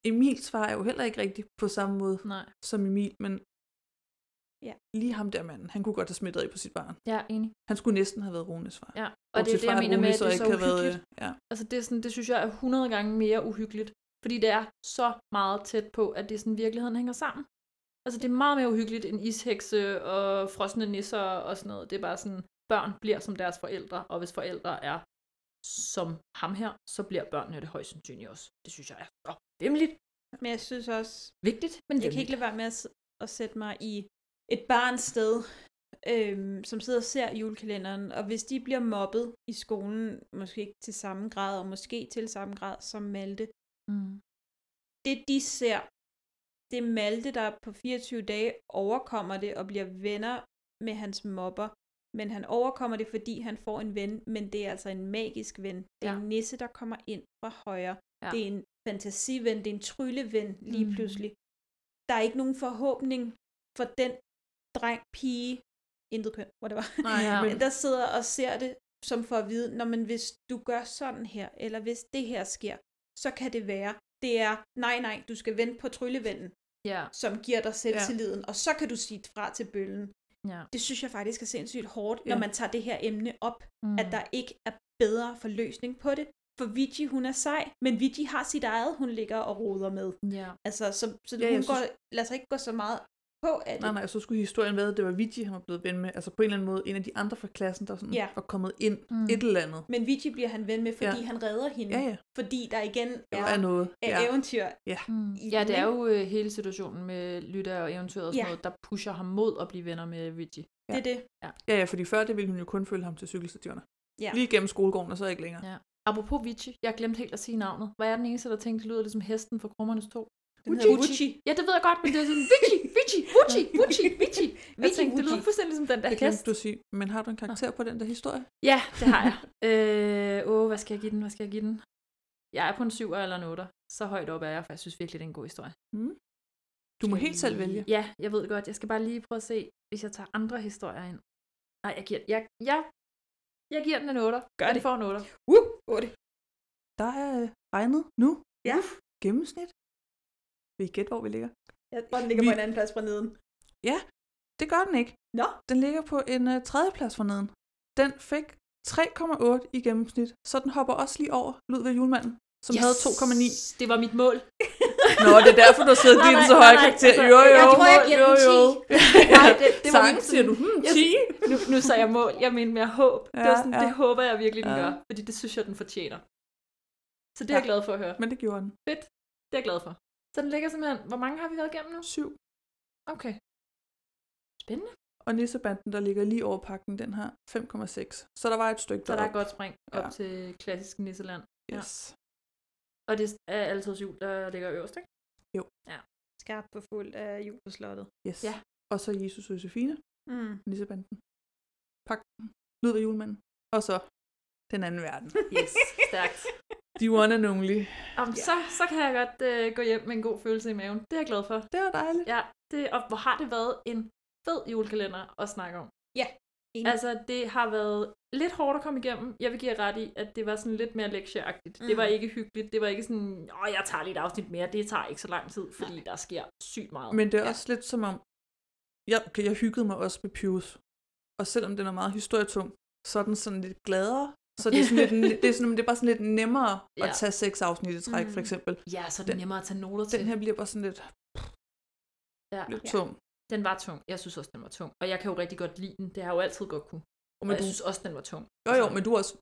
[SPEAKER 2] Emils far er jo heller ikke rigtig på samme måde
[SPEAKER 3] Nej.
[SPEAKER 2] som Emil, men
[SPEAKER 4] Ja.
[SPEAKER 2] lige ham der manden, han kunne godt have smidt af på sit barn.
[SPEAKER 3] Jeg er enig.
[SPEAKER 2] Han skulle næsten have været Runes far.
[SPEAKER 3] Ja. Og det er
[SPEAKER 2] Bortset
[SPEAKER 3] det,
[SPEAKER 2] fra,
[SPEAKER 3] jeg mener med,
[SPEAKER 2] Rune
[SPEAKER 3] at det er så
[SPEAKER 2] ikke har
[SPEAKER 3] uhyggeligt.
[SPEAKER 2] ja.
[SPEAKER 3] Altså det, er sådan, det synes jeg er 100 gange mere uhyggeligt, fordi det er så meget tæt på, at det er sådan, virkeligheden hænger sammen. Altså det er meget mere uhyggeligt end ishekse og frosne nisser og sådan noget. Det er bare sådan, børn bliver som deres forældre, og hvis forældre er som ham her, så bliver børnene det højst sandsynligt også. Det synes jeg er så vimligt.
[SPEAKER 4] Men jeg synes også,
[SPEAKER 3] Vigtigt, men
[SPEAKER 4] jeg kan ikke lade være med at, s- at sætte mig i et barns sted, øhm, som sidder og ser julekalenderen, og hvis de bliver mobbet i skolen, måske ikke til samme grad, og måske til samme grad som Malte,
[SPEAKER 3] Mm.
[SPEAKER 4] det de ser, det er Malte, der på 24 dage overkommer det og bliver venner med hans mobber. Men han overkommer det, fordi han får en ven, men det er altså en magisk ven. Det er
[SPEAKER 3] Ja.
[SPEAKER 4] en nisse, der kommer ind fra højre.
[SPEAKER 3] Ja.
[SPEAKER 4] Det er en fantasiven, det er en trylleven lige
[SPEAKER 3] Mhm.
[SPEAKER 4] mm. pludselig. Der er ikke nogen forhåbning for den dreng, pige, intet køn, hvor det var,
[SPEAKER 2] Nej,
[SPEAKER 3] Ja.
[SPEAKER 2] ja. men
[SPEAKER 4] der sidder og ser det, som får at vide, når man hvis du gør sådan her, eller hvis det her sker, så kan det være, det er, nej, nej, du skal vente på tryllevennen.
[SPEAKER 3] Ja,
[SPEAKER 4] som giver dig selvtilliden, ja. og så kan du sige fra til bøllen.
[SPEAKER 3] ja.
[SPEAKER 4] Det synes jeg faktisk er sindssygt hårdt, ja. når
[SPEAKER 2] Ja.
[SPEAKER 4] man tager det her emne op,
[SPEAKER 3] Mm.
[SPEAKER 4] at der ikke er bedre forløsning på det. For Vigi, hun er sej, men Vigi har sit eget, hun ligger og roder med.
[SPEAKER 3] Ja.
[SPEAKER 4] Altså, så, så
[SPEAKER 2] Ja,
[SPEAKER 4] ja,
[SPEAKER 2] jeg
[SPEAKER 4] hun
[SPEAKER 2] synes-
[SPEAKER 4] går, lader sig ikke gå så meget på af det.
[SPEAKER 2] Nej, nej, så skulle historien være, at det var Vigi, han var blevet ven med. Altså på en eller anden måde, en af de andre fra klassen, der sådan
[SPEAKER 4] Ja.
[SPEAKER 2] var kommet ind
[SPEAKER 3] Mm.
[SPEAKER 2] et eller andet.
[SPEAKER 4] Men Vigi bliver han ven med, fordi ja. han redder hende.
[SPEAKER 2] Ja, ja,
[SPEAKER 4] Fordi der igen
[SPEAKER 2] der
[SPEAKER 4] er,
[SPEAKER 2] er noget.
[SPEAKER 4] er
[SPEAKER 2] Ja.
[SPEAKER 4] eventyr.
[SPEAKER 3] Mm.
[SPEAKER 4] i
[SPEAKER 3] Ja,
[SPEAKER 4] den,
[SPEAKER 3] det er
[SPEAKER 4] ikke?
[SPEAKER 3] jo øh, hele situationen med Lytta og eventyret og sådan
[SPEAKER 4] Ja.
[SPEAKER 3] noget, der pusher ham mod at blive venner med Richie.
[SPEAKER 4] Det er det.
[SPEAKER 2] ja, ja, fordi før det ville hun jo kun følge ham til cykelstationer.
[SPEAKER 4] Ja.
[SPEAKER 2] Lige gennem skolegården, og så ikke længere.
[SPEAKER 3] Ja. Apropos Vichy, jeg glemte helt at sige navnet. Var jeg den eneste, der tænkte, det lyder lidt som hesten fra Krummernes to?
[SPEAKER 4] Den hedder
[SPEAKER 3] Uchi.
[SPEAKER 4] Uchi.
[SPEAKER 3] Ja, det ved jeg godt, men det er sådan, Vichy, Vichy, Vichy, Vichy, Vichy. Jeg
[SPEAKER 4] Vichy,
[SPEAKER 3] tænkte, det
[SPEAKER 4] Vichy.
[SPEAKER 3] lyder fuldstændig som den der
[SPEAKER 2] Det
[SPEAKER 3] hest.
[SPEAKER 2] glemte du at sige, men har du en karakter på den der historie?
[SPEAKER 3] Ja, det har jeg. Øh, åh, hvad skal jeg give den, hvad skal jeg give den? Jeg er på en 7'er eller en 8'er. Så højt op er jeg, for jeg synes virkelig, det er en god historie.
[SPEAKER 2] Du må helt selv vælge.
[SPEAKER 3] Ja, jeg ved det godt. Jeg skal bare lige prøve at se, hvis jeg tager andre historier ind. Nej, jeg giver, jeg, jeg, jeg giver den en 8'er.
[SPEAKER 4] Gør
[SPEAKER 3] den
[SPEAKER 4] det.
[SPEAKER 3] får en 8'er.
[SPEAKER 4] Uh, otte.
[SPEAKER 2] Der er øh, regnet nu.
[SPEAKER 4] Ja.
[SPEAKER 2] Uf, gennemsnit. Vil I gætte, hvor vi ligger?
[SPEAKER 4] Jeg, og den ligger
[SPEAKER 2] Vi-
[SPEAKER 4] på en anden plads fra neden.
[SPEAKER 2] Det gør den ikke.
[SPEAKER 4] Nå.
[SPEAKER 2] Den ligger på en øh, tredjeplads forneden. Den fik 3,8 i gennemsnit, så den hopper også lige over Ludvig Julemanden, som yes. havde 2,9.
[SPEAKER 3] Det var mit mål.
[SPEAKER 2] Nå, det er derfor, du har siddet og givet
[SPEAKER 3] Nej,
[SPEAKER 2] den så
[SPEAKER 3] nej,
[SPEAKER 2] høj
[SPEAKER 3] nej,
[SPEAKER 2] karakter.
[SPEAKER 3] altså,
[SPEAKER 2] Jo, jo,
[SPEAKER 4] jeg tror, jeg giver
[SPEAKER 2] jo,
[SPEAKER 4] den
[SPEAKER 2] jo.
[SPEAKER 4] 10.
[SPEAKER 3] Nej, det, det var
[SPEAKER 2] Sang,
[SPEAKER 3] min sådan-
[SPEAKER 2] siger du, hmm,
[SPEAKER 3] Jeg-
[SPEAKER 2] 10?
[SPEAKER 3] nu, nu sagde jeg mål, jeg mener mere håb. Ja, det, var
[SPEAKER 2] Ja,
[SPEAKER 3] sådan,
[SPEAKER 2] ja.
[SPEAKER 3] ja. det håber jeg virkelig, den
[SPEAKER 2] Ja.
[SPEAKER 3] ja. gør, fordi det synes jeg, den fortjener. Så det er
[SPEAKER 2] Ja.
[SPEAKER 3] jeg glad for at høre.
[SPEAKER 2] Men det gjorde den.
[SPEAKER 3] Det er jeg glad for. Så den ligger simpelthen... Hvor mange har vi været igennem nu?
[SPEAKER 2] 7.
[SPEAKER 3] Okay. Spændende.
[SPEAKER 2] Og nissebanden, der ligger lige over pakken, den har 5,6. Så der var et stykke
[SPEAKER 3] Så der er
[SPEAKER 2] derop.
[SPEAKER 3] et godt spring op
[SPEAKER 2] Ja.
[SPEAKER 3] til klassisk Nisseland.
[SPEAKER 2] Yes.
[SPEAKER 3] Og det er altid jul, der ligger øverst, ikke?
[SPEAKER 4] Skarp på fuld af jul på slottet.
[SPEAKER 2] Yes.
[SPEAKER 3] Ja.
[SPEAKER 2] Og så Jesus og Josefine,
[SPEAKER 4] Mm.
[SPEAKER 2] nissebanden. Pakken, Ludvig Julemanden. Og så den anden verden.
[SPEAKER 3] Yes, stærkt.
[SPEAKER 2] The one and only.
[SPEAKER 3] Om,
[SPEAKER 4] Ja.
[SPEAKER 3] så, så kan jeg godt øh, gå hjem med en god følelse i maven. Det er jeg glad for.
[SPEAKER 2] Det var dejligt.
[SPEAKER 3] Ja, det, og hvor har det været en fed julekalender at snakke om.
[SPEAKER 4] Enig.
[SPEAKER 3] Altså, det har været lidt hårdt at komme igennem. Jeg vil give jer ret i, at det var sådan lidt mere lektieagtigt. Mm. Det var
[SPEAKER 2] Mhm.
[SPEAKER 4] Mm.
[SPEAKER 3] ikke hyggeligt. Det var ikke sådan, åh, jeg tager lige et afsnit mere. Det tager ikke så lang tid, fordi Nej. der sker sygt meget.
[SPEAKER 2] Men det er også lidt som om, jeg, okay, jeg hyggede mig også med Pius. Og selvom den er meget historietung, så er den sådan lidt gladere. Så det er, sådan lidt, det er, sådan, det er bare sådan lidt nemmere ja. at
[SPEAKER 3] Ja.
[SPEAKER 2] tage seks afsnit i træk, for
[SPEAKER 4] Mm.
[SPEAKER 2] eksempel.
[SPEAKER 3] ja, så er det
[SPEAKER 2] den-
[SPEAKER 3] nemmere at tage noter til.
[SPEAKER 2] Den her bliver bare sådan lidt,
[SPEAKER 3] ja.
[SPEAKER 2] lidt
[SPEAKER 4] Ja.
[SPEAKER 2] tung.
[SPEAKER 3] Den var tung. Jeg synes også, den var tung. Og jeg kan jo rigtig godt lide den. Det har jeg jo altid godt kunne.
[SPEAKER 2] Og
[SPEAKER 3] Men
[SPEAKER 2] men
[SPEAKER 3] og jeg
[SPEAKER 2] du,
[SPEAKER 3] synes også, den var tung.
[SPEAKER 2] jo, jo, men du er også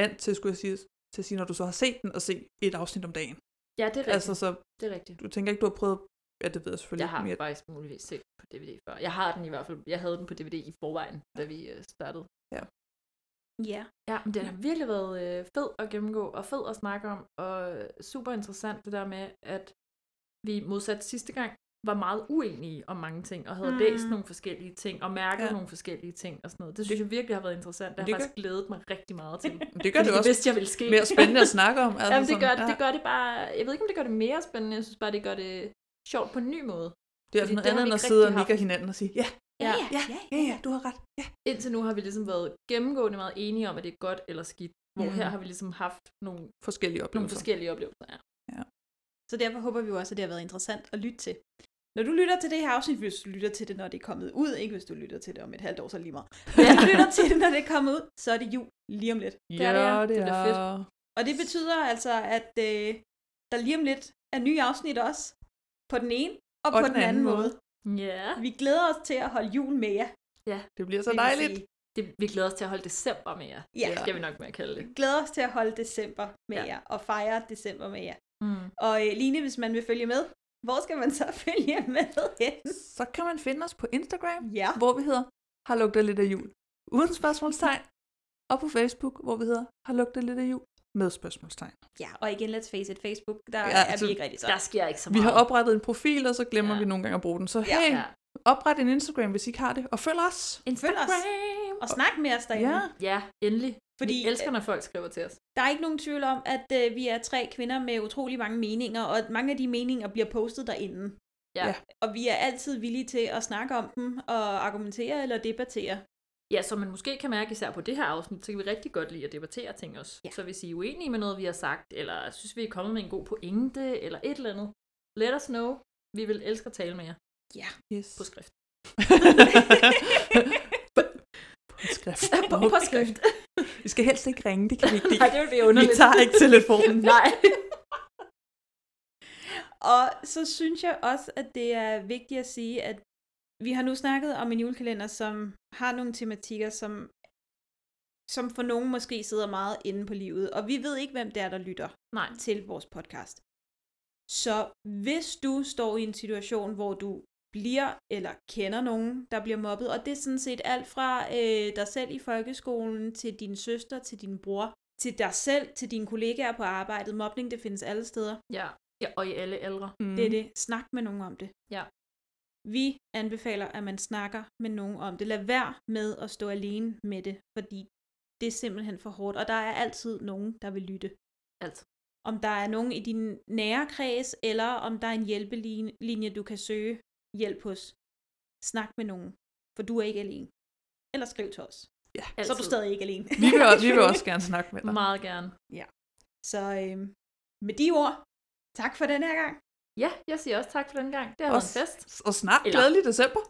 [SPEAKER 2] vant til, skulle jeg sige, til at sige, når du så har set den, og se et afsnit om dagen.
[SPEAKER 3] Ja, det er rigtigt.
[SPEAKER 2] Altså,
[SPEAKER 3] Altså,
[SPEAKER 2] så
[SPEAKER 3] det er rigtigt.
[SPEAKER 2] du tænker ikke, du har prøvet... Ja, det ved jeg selvfølgelig.
[SPEAKER 3] Jeg har
[SPEAKER 2] men
[SPEAKER 3] den faktisk muligvis set på DVD før. Jeg har den i hvert fald. Jeg havde den på DVD i forvejen, da vi øh, startede.
[SPEAKER 4] Ja.
[SPEAKER 3] Ja, men den har virkelig været øh, fed at gennemgå, og fed at snakke om, og super interessant det der med, at vi modsat sidste gang var meget uenige om mange ting, og havde
[SPEAKER 4] Mm.
[SPEAKER 3] mm. læst nogle forskellige ting, og mærket
[SPEAKER 2] Ja.
[SPEAKER 3] ja. nogle forskellige ting og sådan noget. Det synes jeg virkelig har været interessant. Det har
[SPEAKER 2] Det
[SPEAKER 3] jeg
[SPEAKER 2] gør-
[SPEAKER 3] faktisk glædet mig rigtig meget til.
[SPEAKER 2] Men det gør
[SPEAKER 3] fordi
[SPEAKER 2] det
[SPEAKER 3] jeg
[SPEAKER 2] også
[SPEAKER 3] vidste, jeg ville ske.
[SPEAKER 2] mere spændende at snakke om. Altså
[SPEAKER 3] Jamen, det,
[SPEAKER 2] sådan,
[SPEAKER 3] gør,
[SPEAKER 2] ja,
[SPEAKER 3] det gør det bare... Jeg ved ikke, om det gør det mere spændende. Jeg synes bare, det gør det sjovt på en ny måde.
[SPEAKER 2] det er altså
[SPEAKER 3] fordi
[SPEAKER 2] noget
[SPEAKER 3] det har
[SPEAKER 2] andet
[SPEAKER 3] vi
[SPEAKER 2] end at
[SPEAKER 3] ikke
[SPEAKER 2] sidde og
[SPEAKER 3] rigtig
[SPEAKER 2] nikke af hinanden og sige, ja,
[SPEAKER 4] Ja,
[SPEAKER 3] Ja.
[SPEAKER 4] ja, ja.
[SPEAKER 2] ja, ja, du har ret. Ja.
[SPEAKER 3] Indtil nu har vi ligesom været gennemgående meget enige om, at det er godt eller skidt. Hvor
[SPEAKER 2] Mm.
[SPEAKER 3] her har vi ligesom haft nogle,
[SPEAKER 2] Forskellige
[SPEAKER 3] nogle
[SPEAKER 2] oplevelser.
[SPEAKER 3] forskellige oplevelser. Ja.
[SPEAKER 4] Så derfor håber vi jo også, at det har været interessant at lytte til. Når du lytter til det her afsnit, hvis du lytter til det, når det er kommet ud, ikke hvis du lytter til det om et halvt år, så lige meget. Hvis du lytter til det, når det er kommet ud, så er det jul lige om lidt.
[SPEAKER 3] Det er det, ja. Det er da fedt.
[SPEAKER 4] Og det betyder altså, at øh, der lige om lidt er nye afsnit også, på den ene og, og på den, den anden måde.
[SPEAKER 3] Ja.
[SPEAKER 4] måde. Vi glæder os til at holde jul med jer.
[SPEAKER 2] Det bliver så
[SPEAKER 4] vil jeg
[SPEAKER 2] dejligt.
[SPEAKER 4] sige.
[SPEAKER 3] Det, vi glæder os til at holde december med jer.
[SPEAKER 4] Ja,
[SPEAKER 3] Det skal vi nok med at kalde det.
[SPEAKER 4] vi glæder os til at holde december med ja.
[SPEAKER 3] Ja.
[SPEAKER 4] jer, og fejre december med jer.
[SPEAKER 3] Mm.
[SPEAKER 4] Og øh, Line, hvis man vil følge med, hvor skal man så følge med hen?
[SPEAKER 3] Mm.
[SPEAKER 2] Så kan man finde os på Instagram,
[SPEAKER 4] Ja.
[SPEAKER 2] hvor vi hedder Har lugter lidt af jul. Uden spørgsmålstegn. Og på Facebook, hvor vi hedder Har lugter lidt af jul. Med spørgsmålstegn.
[SPEAKER 4] Ja, og igen, let's face it, Facebook, der
[SPEAKER 2] Ja,
[SPEAKER 4] ja, er
[SPEAKER 2] altså,
[SPEAKER 4] vi ikke rigtig så.
[SPEAKER 3] Der sker ikke så meget.
[SPEAKER 2] Vi har oprettet en profil, og så glemmer
[SPEAKER 3] Ja.
[SPEAKER 2] vi nogle gange at bruge den. Så
[SPEAKER 4] Ja.
[SPEAKER 2] hey,
[SPEAKER 3] Ja.
[SPEAKER 2] opret en Instagram, hvis I ikke har det. Og følg os.
[SPEAKER 4] Følg os.
[SPEAKER 3] Instagram.
[SPEAKER 4] Og snak med os derinde.
[SPEAKER 2] Ja.
[SPEAKER 4] Ja.
[SPEAKER 3] Ja, endelig. Fordi, øh,
[SPEAKER 4] Fordi
[SPEAKER 3] vi elsker, når folk skriver til os.
[SPEAKER 4] der er ikke nogen tvivl om, at øh, vi er tre kvinder med utrolig mange meninger, og at mange af de meninger bliver postet derinde.
[SPEAKER 3] Ja.
[SPEAKER 2] Ja.
[SPEAKER 4] Og vi er altid villige til at snakke om dem, og argumentere eller debattere.
[SPEAKER 3] Ja, som man måske kan mærke, især på det her afsnit, så kan vi rigtig godt lide at debattere ting også.
[SPEAKER 4] Ja.
[SPEAKER 3] Så hvis I er uenige med noget, vi har sagt, eller synes, vi er kommet med en god pointe, eller et eller andet, let us know. Vi vil elske at tale med jer
[SPEAKER 4] Ja.
[SPEAKER 2] Yes.
[SPEAKER 3] på skrift.
[SPEAKER 2] på skrift.
[SPEAKER 3] På, på skrift.
[SPEAKER 2] I skal helst ikke ringe, det kan vi ikke
[SPEAKER 3] Nej,
[SPEAKER 2] lide.
[SPEAKER 3] det vil blive
[SPEAKER 2] Vi
[SPEAKER 3] underligt.
[SPEAKER 2] tager ikke telefonen.
[SPEAKER 3] Nej.
[SPEAKER 4] Og så synes jeg også, at det er vigtigt at sige, at vi har nu snakket om en julekalender, som har nogle tematikker, som, som for nogen måske sidder meget inde på livet. Og vi ved ikke, hvem det er, der lytter
[SPEAKER 3] Nej.
[SPEAKER 4] til vores podcast. Så hvis du står i en situation, hvor du bliver eller kender nogen, der bliver mobbet, og det er sådan set alt fra øh, dig selv i folkeskolen, til din søster, til din bror, til dig selv, til dine kollegaer på arbejdet. Mobning, det findes alle steder.
[SPEAKER 3] Ja. ja. Og i alle aldre.
[SPEAKER 2] Mm.
[SPEAKER 4] Det er det. Snak med nogen om det.
[SPEAKER 3] Ja.
[SPEAKER 4] Vi anbefaler, at man snakker med nogen om det. Lad være med at stå alene med det, fordi det er simpelthen for hårdt, og der er altid nogen, der vil lytte.
[SPEAKER 3] Altid.
[SPEAKER 4] Om der er nogen i din nære kreds, eller om der er en hjælpelinje, du kan søge hjælp hos. Snak med nogen, for du er ikke alene. Eller skriv til os.
[SPEAKER 3] Altid.
[SPEAKER 4] Så er du stadig ikke alene.
[SPEAKER 2] Vi, vil, også- vi vil også gerne snakke med dig.
[SPEAKER 3] Meget gerne.
[SPEAKER 4] Så øhm, med de ord, tak for den her gang.
[SPEAKER 3] Ja, jeg siger også tak for den gang. Det har været en fest.
[SPEAKER 2] og snart
[SPEAKER 3] Eller-
[SPEAKER 2] glædelig december.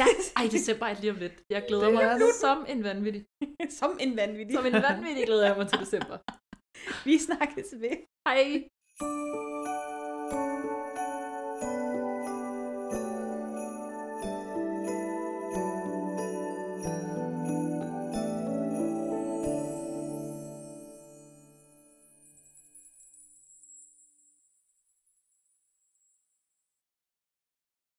[SPEAKER 3] Ja. Ej, december er lige om lidt. Jeg glæder mig altså som en vanvittig.
[SPEAKER 4] Som en vanvittig.
[SPEAKER 3] Som en vanvittig glæder jeg mig til december.
[SPEAKER 4] Vi snakkes ved.
[SPEAKER 3] Hej.